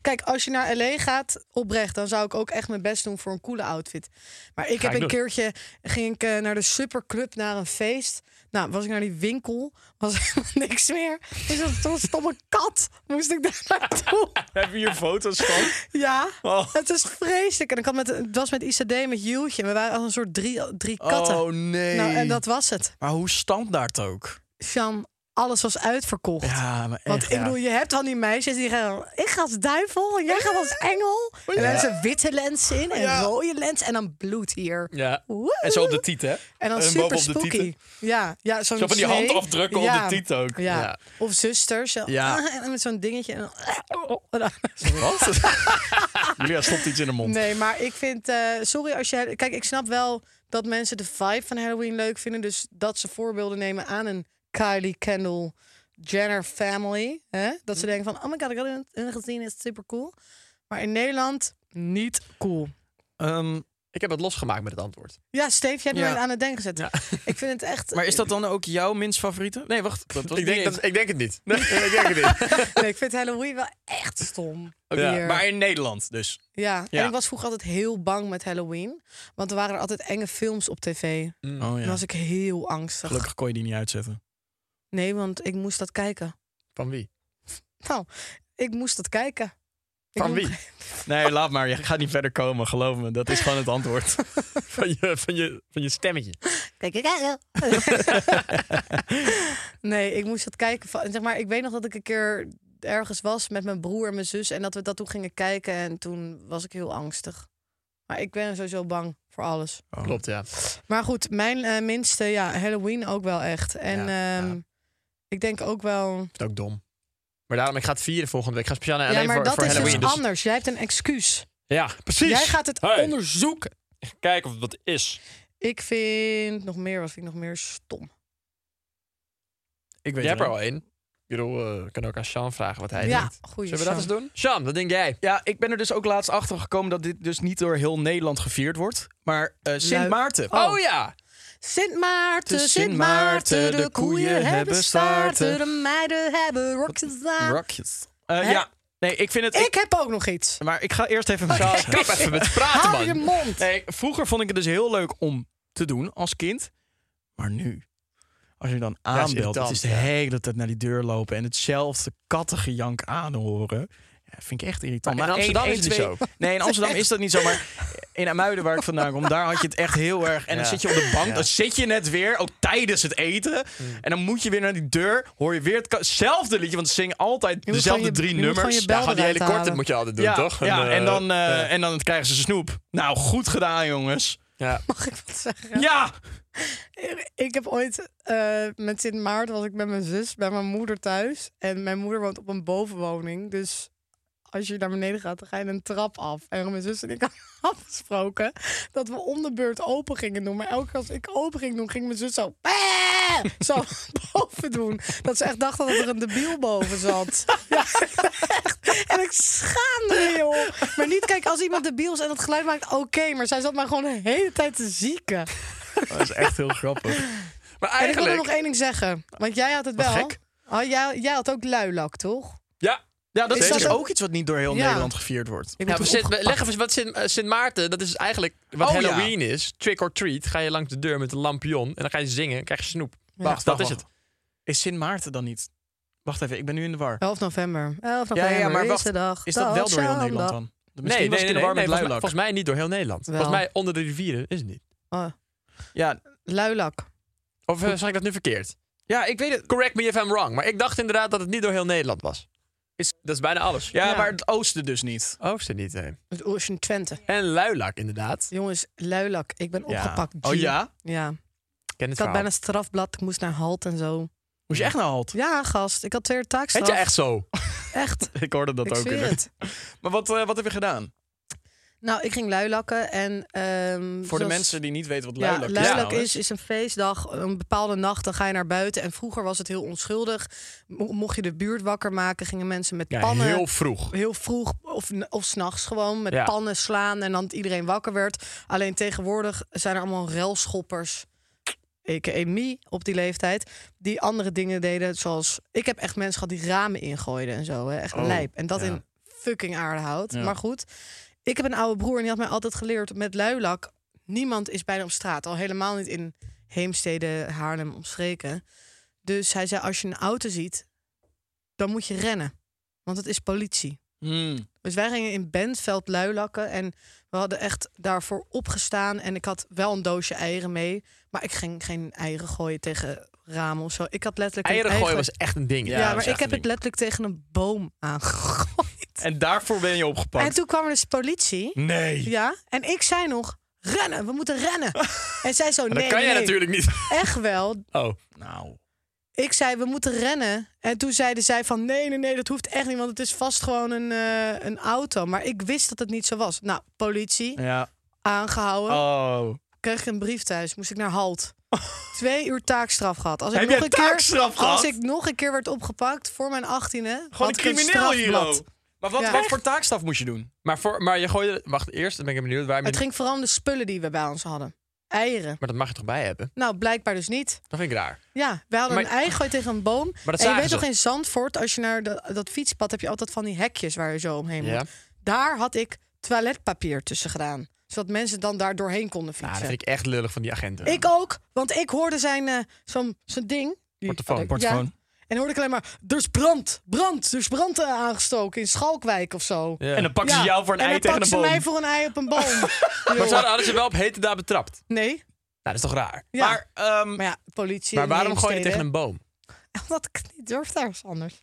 C: Kijk, als je naar LA gaat, oprecht, dan zou ik ook echt mijn best doen voor een coole outfit. Maar ik heb
B: ik doen.
C: een keertje, ging ik eh, naar de superclub, naar een feest. Nou, was ik naar die winkel, was helemaal niks meer. Is dat zo'n stomme kat? Moest ik daar naartoe?
A: Hebben we hier foto's van?
C: Ja,
A: Oh.
C: het is vreselijk. En ik had met, het was met ICD, met Juwtje. We waren als een soort drie, drie katten.
A: Oh nee.
C: Nou, en dat was het.
A: Maar hoe standaard ook.
C: Sjan, alles was uitverkocht.
A: Ja, maar
C: Want
A: echt.
C: ik bedoel, je hebt al die meisjes die gaan... Ik ga als duivel, en jij gaat als engel.
B: Oh,
C: En dan hebben ze witte lens in en rode lens en dan bloed hier.
B: Ja.
C: Woe.
B: En zo op de tiet, hè?
C: En dan
B: en
C: super
B: bovenop de
C: spooky.
B: tieten.
C: Ja, ja, zo'n
B: Zo van die
C: snee.
B: handafdrukken
C: Ja,
B: op de tiet ook.
C: Ja.
B: Ja.
C: Of zusters. zo, Ah,
A: Ja.
C: En dan met zo'n dingetje. En
B: Oh,
C: dan,
A: Wat? Julia stopt iets in de mond.
C: Nee, maar ik vind... eh, sorry als je... Kijk, ik snap wel dat mensen de vibe van Halloween leuk vinden. Dus dat ze voorbeelden nemen aan een Kylie, Kendall, Jenner family. Hè? Dat
A: Hm.
C: ze denken van, oh my god, ik had hun- hun gezien, is super cool. Maar in Nederland, niet cool.
A: Ehm,
B: Ik heb het losgemaakt met het antwoord.
C: Ja, Steve, jij hebt
A: Ja.
C: me aan het denken gezet. Ik vind het echt...
A: maar is dat dan ook jouw minst favoriete? Nee, wacht. Dat was
B: Ik denk,
A: niet
B: dat, ik denk het niet. ik denk het niet.
C: Nee, ik vind Halloween wel echt stom.
A: eens. Ja,
C: Weer.
A: Maar in Nederland dus.
C: Ja,
A: Ja.
C: en ik was vroeger altijd heel bang met Halloween. Want er waren er altijd enge films op tv.
A: Oh
C: En
A: ja.
C: was ik heel angstig.
A: Gelukkig kon je die niet uitzetten.
C: Nee, want ik moest dat kijken.
B: Van wie?
C: Nou, ik moest dat kijken. Ik
B: Van
C: moet-
B: wie?
A: Nee, laat maar. Je gaat niet verder komen, geloof me. Dat is gewoon het antwoord.
B: Van je, van je, van je stemmetje.
C: Kijk, ik aan, joh. nee, ik moest dat kijken. van- Zeg maar, ik weet nog dat ik een keer ergens was met mijn broer en mijn zus. En dat we dat toen gingen kijken. En toen was ik heel angstig. Maar ik ben sowieso bang voor alles.
B: Klopt, ja.
C: Maar goed, mijn eh, minste, ja, Halloween ook wel echt. En
B: Ja,
C: ehm,
B: ja.
C: ik denk ook wel...
B: is ook dom. Maar daarom, ik ga het vieren volgende week. Ik ga speciaal naar
C: ja,
B: alleen
C: maar
B: voor,
C: dat
B: voor
C: is
B: Halloween.
C: dus
B: dus-
C: anders. Jij hebt een excuus.
B: Ja, precies.
C: Jij gaat het
B: Hey.
C: onderzoeken.
B: Kijken of het wat is.
C: Ik vind nog meer, wat vind ik nog meer stom.
A: Ik weet
B: Jij hebt
A: het wel.
B: er al één. Ik bedoel, eh, we kunnen ook aan Sean vragen wat hij
C: ja,
B: denkt.
C: goeie
B: Zullen we dat eens
C: Sjan.
B: doen? Sean, wat denk jij?
A: Ja, ik ben er dus ook laatst achter gekomen dat dit dus niet door heel Nederland gevierd wordt. Maar eh, Sint
C: Lui-
A: Maarten.
B: Oh, ja!
C: Sint Maarten,
A: Sint
C: Sint Maarten,
A: Maarten,
C: de koeien hebben staarten, de meiden hebben rokjes aan.
A: Rockjes. Eh,
C: Hè?
A: ja, nee, ik vind het...
C: Ik heb ook nog iets.
A: Maar ik ga eerst even...
B: Sean, kap even met praten,
C: Oh. Hou je
B: man.
C: mond.
A: Nee, vroeger vond ik het dus heel leuk om te doen als kind. Maar nu, als je dan aanbelt,
B: irritant,
A: het is de
B: ja.
A: hele tijd naar die deur lopen en hetzelfde kattengejank aanhoren. Ja, vind ik echt irritant.
B: Maar in
A: één-
B: Amsterdam
A: één,
B: is het
A: twee-
B: niet zo.
A: Nee, in Amsterdam is dat niet zo. Maar in Amuiden, waar ik vandaan kom, daar had je het echt heel erg. En dan
B: Ja.
A: zit je op de bank,
B: Ja. Hmm.
A: dan zit je net weer, ook tijdens het eten. En dan moet je weer naar die deur, hoor je weer hetzelfde liedje, want ze zingen altijd
C: gewoon
A: dezelfde
C: je-
A: drie
C: je moet gewoon
A: nummers.
C: je bel
B: Ja, gewoon die hele
C: eruit
B: korte
C: halen.
B: moet je altijd doen,
A: ja,
B: toch?
A: ja,
B: eh,
A: en, dan, eh, en dan krijgen ze snoep. Nou, goed gedaan, jongens.
B: ja.
C: Mag ik wat zeggen?
A: ja.
C: Ik heb ooit eh, met Sint Maarten was ik met mijn zus bij mijn moeder thuis. En mijn moeder woont op een bovenwoning. Dus als je naar beneden gaat, dan ga je een trap af. En mijn zus en ik hadden afgesproken dat we om de beurt open gingen doen. Maar elke keer als ik open ging doen, ging mijn zus zo... "Bah!" Zo boven doen. Dat ze echt dachten dat er een debiel boven zat. Ja, echt. En ik schaamde me, joh. Maar niet, kijk, als iemand debiel is en het geluid maakt, oké. maar zij zat mij gewoon de hele tijd te zieken.
A: Dat is echt heel grappig.
B: Maar
C: En ik wil er
B: eigenlijk...
C: nog één ding zeggen. Want jij had het
A: Wat
C: wel.
A: gek.
C: Oh, jij, jij had ook luilak, toch?
B: Ja.
A: Ja, dat is
B: Zeker.
A: dus ook iets wat niet door heel
C: Ja.
A: Nederland gevierd wordt.
C: Ik
B: Ja,
C: ben
B: maar
C: toen
B: Sint, leg even wat Sint, eh, Sint Maarten, dat is eigenlijk wat
A: Oh, ja.
B: Halloween is. Trick or treat. Ga je langs de deur met een lampion en dan ga je zingen en krijg je snoep. Wacht, dat is het.
A: Is Sint Maarten dan niet? Wacht even, ik ben nu in de war.
C: 11 november. 11
A: Ja,
C: november
A: ja, maar
C: is
A: wacht,
C: de dag.
A: Is dat wel door heel
C: zal
A: Nederland
C: dag-
A: dan? Misschien was ik in de war met
B: volgens, mij,
A: luilak.
B: volgens mij niet door heel Nederland.
C: Wel.
B: Volgens mij onder de rivieren is het niet.
C: Oh,
A: Ja,
C: luilak.
B: Of eh, zag ik dat nu verkeerd?
A: ja, ik weet het.
B: Correct me if I'm wrong. Maar ik dacht inderdaad dat het niet door heel Nederland was. Is, dat is bijna alles.
A: Ja,
C: Ja.
A: maar het oosten dus niet.
B: Oosten niet, hè.
C: Het Ocean Twente.
B: En Luilak, inderdaad.
C: Jongens, luilak. Ik ben opgepakt.
A: Oh
C: G.
A: ja?
C: Ja.
B: Ik ken het
C: Ik had
B: verhaal.
C: bijna strafblad. Ik moest naar halt en zo.
A: Moest je echt naar halt?
C: Ja, gast. Ik had twee taakstraf.
B: Heet je echt zo?
C: Echt.
A: Ik hoorde dat
C: ik
A: ook.
C: zweer
A: weer.
C: het. Dus
A: Maar wat, eh, wat heb je gedaan?
C: Nou, ik ging luilakken en... ehm,
A: Voor de
C: zoals-
A: mensen die niet weten wat
C: Ja,
A: luilak is. nou,
C: luilak
A: trouwens.
C: is, is een feestdag. Een bepaalde nacht, dan ga je naar buiten. En vroeger was het heel onschuldig. Mo- Mocht je de buurt wakker maken, gingen mensen met
B: Ja,
C: pannen.
B: heel vroeg.
C: heel vroeg of, of s'nachts gewoon met
B: Ja.
C: pannen slaan en dan dat iedereen wakker werd. Alleen tegenwoordig zijn er allemaal relschoppers, a.k.a. me, op die leeftijd, die andere dingen deden zoals... Ik heb echt mensen gehad die ramen ingooiden en zo, hè. echt lijp. En dat in fucking aardehout. Maar goed, ik heb een oude broer en die had mij altijd geleerd met luilak... niemand is bijna op straat, al helemaal niet in Heemstede, Haarlem omstreken. Dus hij zei, als je een auto ziet, dan moet je rennen. Want het is politie.
A: Hmm.
C: Dus wij gingen in Bentveld luilakken en we hadden echt daarvoor opgestaan. En ik had wel een doosje eieren mee, maar ik ging geen eieren gooien tegen ramen of zo. Ik had letterlijk een
B: Eieren gooien
C: eigen-
B: was echt een ding.
C: Ja,
A: Ja, dat is
C: maar
A: echt
C: ik heb
A: een
C: het letterlijk tegen een boom aangegooid.
A: En daarvoor ben je opgepakt.
C: En toen kwam er dus politie.
A: Nee.
C: Ja, en ik zei nog, rennen, we moeten rennen. en zij zo, nee,
B: dat kan
C: nee,
B: jij
C: nee,
B: natuurlijk niet.
C: echt wel,
B: Oh.
A: Nou.
C: ik zei, we moeten rennen. En toen zeiden zij van, nee, nee, nee, dat hoeft echt niet... want het is vast gewoon een, eh, een auto. Maar ik wist dat het niet zo was. Nou, politie,
A: Ja.
C: aangehouden.
A: Oh.
C: Kreeg ik een brief thuis, moest ik naar Halt. Twee uur taakstraf gehad. Als ik
A: Heb
C: nog
A: jij
C: een keer,
A: taakstraf gehad?
C: Als ik nog een keer werd opgepakt voor mijn 18e.
A: Gewoon een crimineel hier,
C: hierop.
A: oh. Maar wat,
C: Ja.
A: wat voor taakstraf moest je doen?
B: Maar, voor, maar je gooide... Wacht, eerst dan ben ik benieuwd waar je...
C: Het
B: met-
C: ging vooral om de spullen die we bij ons hadden. Eieren.
B: Maar dat mag je toch bij hebben?
C: Nou, blijkbaar dus niet.
B: Dat vind ik raar.
C: Ja, we hadden
B: Maar-
C: een ei gegooid tegen een boom.
B: dat
C: en je
B: zagen
C: weet
B: ze.
C: toch in Zandvoort, als je naar dat, dat fietspad... heb je altijd van die hekjes waar je zo omheen
B: Ja.
C: moet. Daar had ik toiletpapier tussen gedaan. Zodat mensen dan daar doorheen konden
B: Nou, dat
C: fietsen.
B: vind ik echt lullig van die agenten.
C: Ik ook, want ik hoorde zijn, eh, zo'n zo'n ding. Die-
B: Portofoon.
A: Portofoon.
C: En hoorde ik alleen maar, er is brand, brand, er is brand eh, aangestoken in Schalkwijk of zo.
B: Ja.
A: En dan pakken ze
C: Ja,
A: jou voor een
C: en
A: ei
C: dan
A: tegen
C: pakken
A: een
C: ze
A: boom.
C: mij voor een ei op een boom.
B: Maar
C: Joh.
B: ze hadden ze wel op hete daar betrapt. Nou,
C: Nee,
B: dat is toch raar?
C: Ja.
A: Maar, ehm,
C: maar ja, politie
B: Maar
C: in
B: waarom gooi je
C: Heemstede.
B: tegen een boom?
C: Omdat ik het niet durf ergens anders.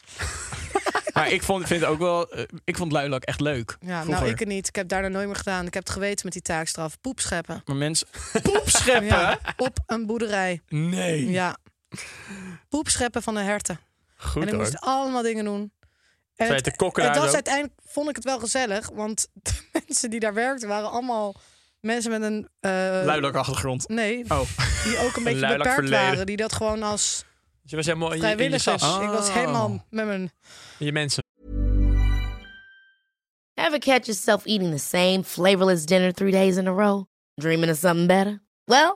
A: maar ik vond, vind het ook wel... eh, ik vond luilak echt leuk.
C: Ja, nou
A: vroeger.
C: ik het niet. Ik heb daarna nooit meer gedaan. Ik heb het geweten met die taakstraf. Poep scheppen.
A: Maar mensen... Poep scheppen?
C: Ja, op een boerderij.
A: Nee.
C: Ja. Poep scheppen van de herten.
B: Goed
C: en ik moest allemaal dingen doen. En
B: Zij te kokken
C: het
B: daar
C: was
B: zo?
C: uiteindelijk vond ik het wel gezellig, want de mensen die daar werkten waren allemaal mensen met een eh,
A: Luilak achtergrond.
C: Nee,
A: Oh.
C: die ook een beetje
A: luilak
C: beperkt
A: verleden.
C: waren, die dat gewoon als
B: Dus Je was helemaal in je, in je
C: vrijwilligers. Oh.
B: sas,
C: Ik
A: Oh.
C: was helemaal met mijn
B: in je mensen.
F: Ever catch yourself eating the same flavorless dinner three days in a row? Dreaming of something better? Well,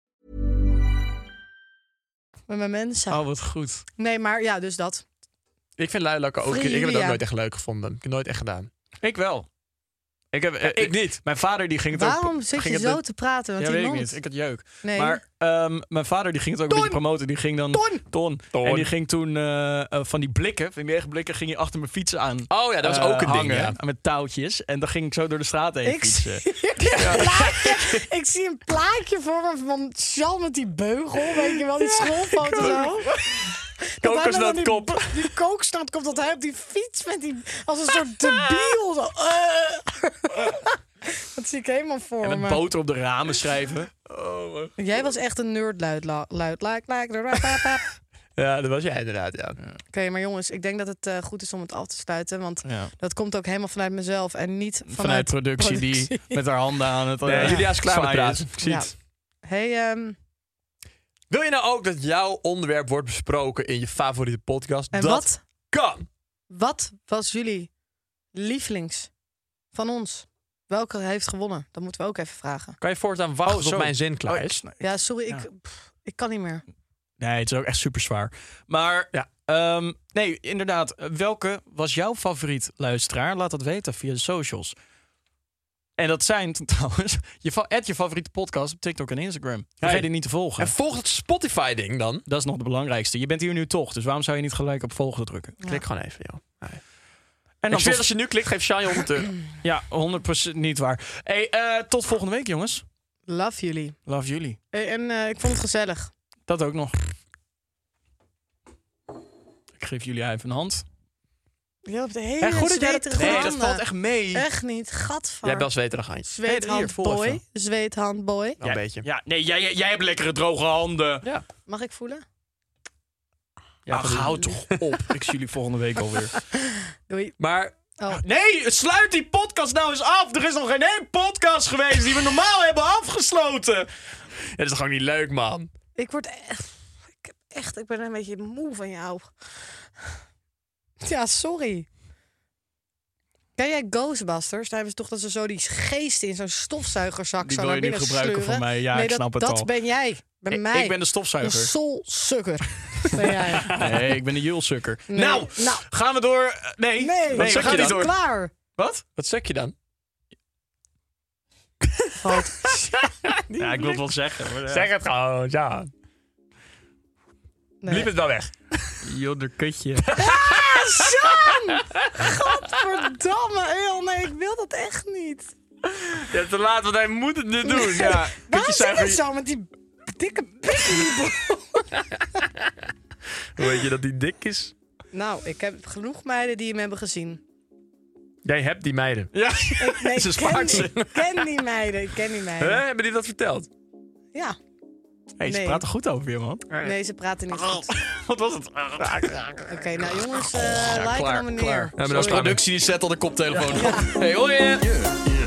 C: met mijn mensen.
B: Oh, wat goed.
C: Nee, maar ja, dus dat.
B: Ik vind luilakken ook...
C: Free
B: Ik heb het ook
C: Julia.
B: nooit echt leuk gevonden. Ik heb het nooit echt gedaan.
A: Ik wel. Ik, heb, eh,
B: ik niet.
A: Mijn vader die ging het ook...
C: Waarom zit
A: ging
C: je
A: het
C: zo
A: met-
C: te praten met
A: Ja,
C: die
A: weet ik
C: mond?
A: niet. Ik had jeuk.
C: Nee.
A: Maar ehm, mijn vader die ging het ook een beetje promoten. Die ging dan...
C: Ton!
A: Ton.
B: Ton.
A: En die ging toen eh, eh, van die blikken, van die regenblikken, ging hij achter mijn fietsen aan.
B: Oh ja, dat was
A: eh,
B: ook een ding,
A: hangen,
B: ja.
A: Met touwtjes. En dan ging ik zo door de straat heen
C: Ik zie,
A: fietsen.
C: een plaatje, ik zie een plaatje voor me van Jean met die beugel. Weet je wel, die schoolfoto zo. Dat hij dan die-
B: Kokosnotkop.
C: Die kokosnotkop, dat hij op die fiets met die... Als een soort debiel. Zo. Eh. Dat zie ik helemaal voor
A: En
C: me.
B: eh,
A: met boter op de ramen schrijven.
B: Oh,
C: Jij was echt een nerd luid. la- luid luid, luid, luid, luid, luid, luid.
B: Ja, dat was jij inderdaad, ja.
C: Oké, maar jongens, ik denk dat het eh, goed is om het af te sluiten. Want
A: Ja.
C: dat komt ook helemaal vanuit mezelf en niet vanuit,
A: Vanuit productie, die met haar handen aan het...
B: Nee,
A: eh,
B: Julia is klaar met
A: zwaaien
B: praten.
A: Ik zie
C: Ja.
A: het.
C: Hey, ehm,
B: Wil je nou ook dat jouw onderwerp wordt besproken in je favoriete podcast?
C: en
B: dat
C: wat,
B: kan.
C: wat was jullie lievelings van ons? Welke heeft gewonnen? Dat moeten we ook even vragen.
B: Kan je voortaan wachten
A: Oh,
B: tot
A: zo.
B: mijn zin klaar is?
C: Ja, sorry,
A: Ja.
C: Ik, pff, ik kan niet meer.
A: Nee, het is ook echt super zwaar. Maar
B: Ja.
A: ehm, nee, inderdaad. eh, Welke was jouw favoriet luisteraar? Laat dat weten via de socials. En dat zijn trouwens je, fa- add je favoriete podcast op TikTok en Instagram. Vergeet
B: Hey.
A: die niet te volgen.
B: En volg het Spotify-ding dan.
A: dat is nog de belangrijkste. Je bent hier nu toch, dus waarom zou je niet gelijk op volgen drukken?
B: Klik gewoon even, joh.
A: En
B: En
A: dan
B: ik zweer,
A: tot-
B: als je nu klikt, geeft Shine 100 euro.
A: Ja, 100% niet waar. Hey, eh, tot volgende week, jongens.
C: Love jullie.
A: Love jullie.
C: Eh, En eh, ik vond het gezellig.
A: Dat ook nog. Ik geef jullie even een hand.
C: Je hebt hele
A: En goed dat jij dat...
C: zweterige
A: Nee, dat
C: handen.
A: valt echt mee.
C: Echt niet. Gadver.
B: Jij hebt wel zweterig handjes.
A: Hey, hier,
C: Zweethand
A: voel
C: boy.
A: even.
C: Zweethand boy.
B: Wel een beetje.
A: Ja, nee, jij, jij- jij hebt lekkere droge handen.
B: Ja.
C: Mag ik voelen?
B: Ja,
A: Ach,
B: van die-
A: hou toch op. Ik zie jullie volgende week alweer.
C: Doei.
B: Maar
C: Oh.
A: Nee, sluit die podcast nou eens af. Er is nog geen één podcast geweest die we normaal hebben afgesloten.
B: ja, dat is gewoon niet leuk, man.
C: Ik word echt... Ik, heb echt, ik ben een beetje moe van jou. Ja, sorry. Ken jij Ghostbusters? Daar hebben ze toch dat ze zo die geesten in zo'n stofzuigerzak
A: Die
C: zo
A: wil
C: naar
A: je nu
C: binnen
A: gebruiken
C: sleuren.
A: voor mij. Ja,
C: nee,
A: ik
C: dat,
A: snap het
C: dat
A: al.
C: ben jij. Bij
A: Ik-
C: mij.
A: Ik ben Nou, de
C: een
A: stofzuiger.
C: soulsukker. ben jij.
A: Nee, ik ben een julsukker. Nou,
C: Nou.
A: gaan we door. eh, Nee,
C: Nee,
A: we
B: zeg
A: gaan
B: je
A: niet
B: dan?
A: door.
C: klaar.
A: Wat?
B: Wat zeg je dan?
A: Ja, ik wil het wel zeggen. maar ja.
B: het gewoon, Oh, ja.
C: Nee.
B: het wel weg.
A: Jodder kutje.
C: Sam! Godverdamme, eeuw. Nee, ik wil dat echt niet.
B: Ja, te laat, want hij moet het nu doen. Ja.
C: Waarom zit
B: zuigen
C: het
B: je-
C: zo met die dikke pik in die broek?
B: Hoe weet je dat die dik is?
C: Nou, ik heb genoeg meiden die hem hebben gezien.
B: Jij hebt die meiden.
A: Ja.
C: Ik, nee,
A: Ze
C: ik
A: spaart
C: ken,
A: ze.
C: die- ik ken die meiden, ik ken die meiden.
B: Hè, Hebben die dat verteld?
C: Ja,
A: Hey, ze
C: Nee.
A: praten goed over je, man.
C: nee, ze praten niet goed.
A: Wat was het?
C: Oké, nou jongens, eh like en abonneer.
B: Ja, maar dat is
A: Productie zet al de koptelefoon op.
B: Hey, hoi. hè.
A: Yeah.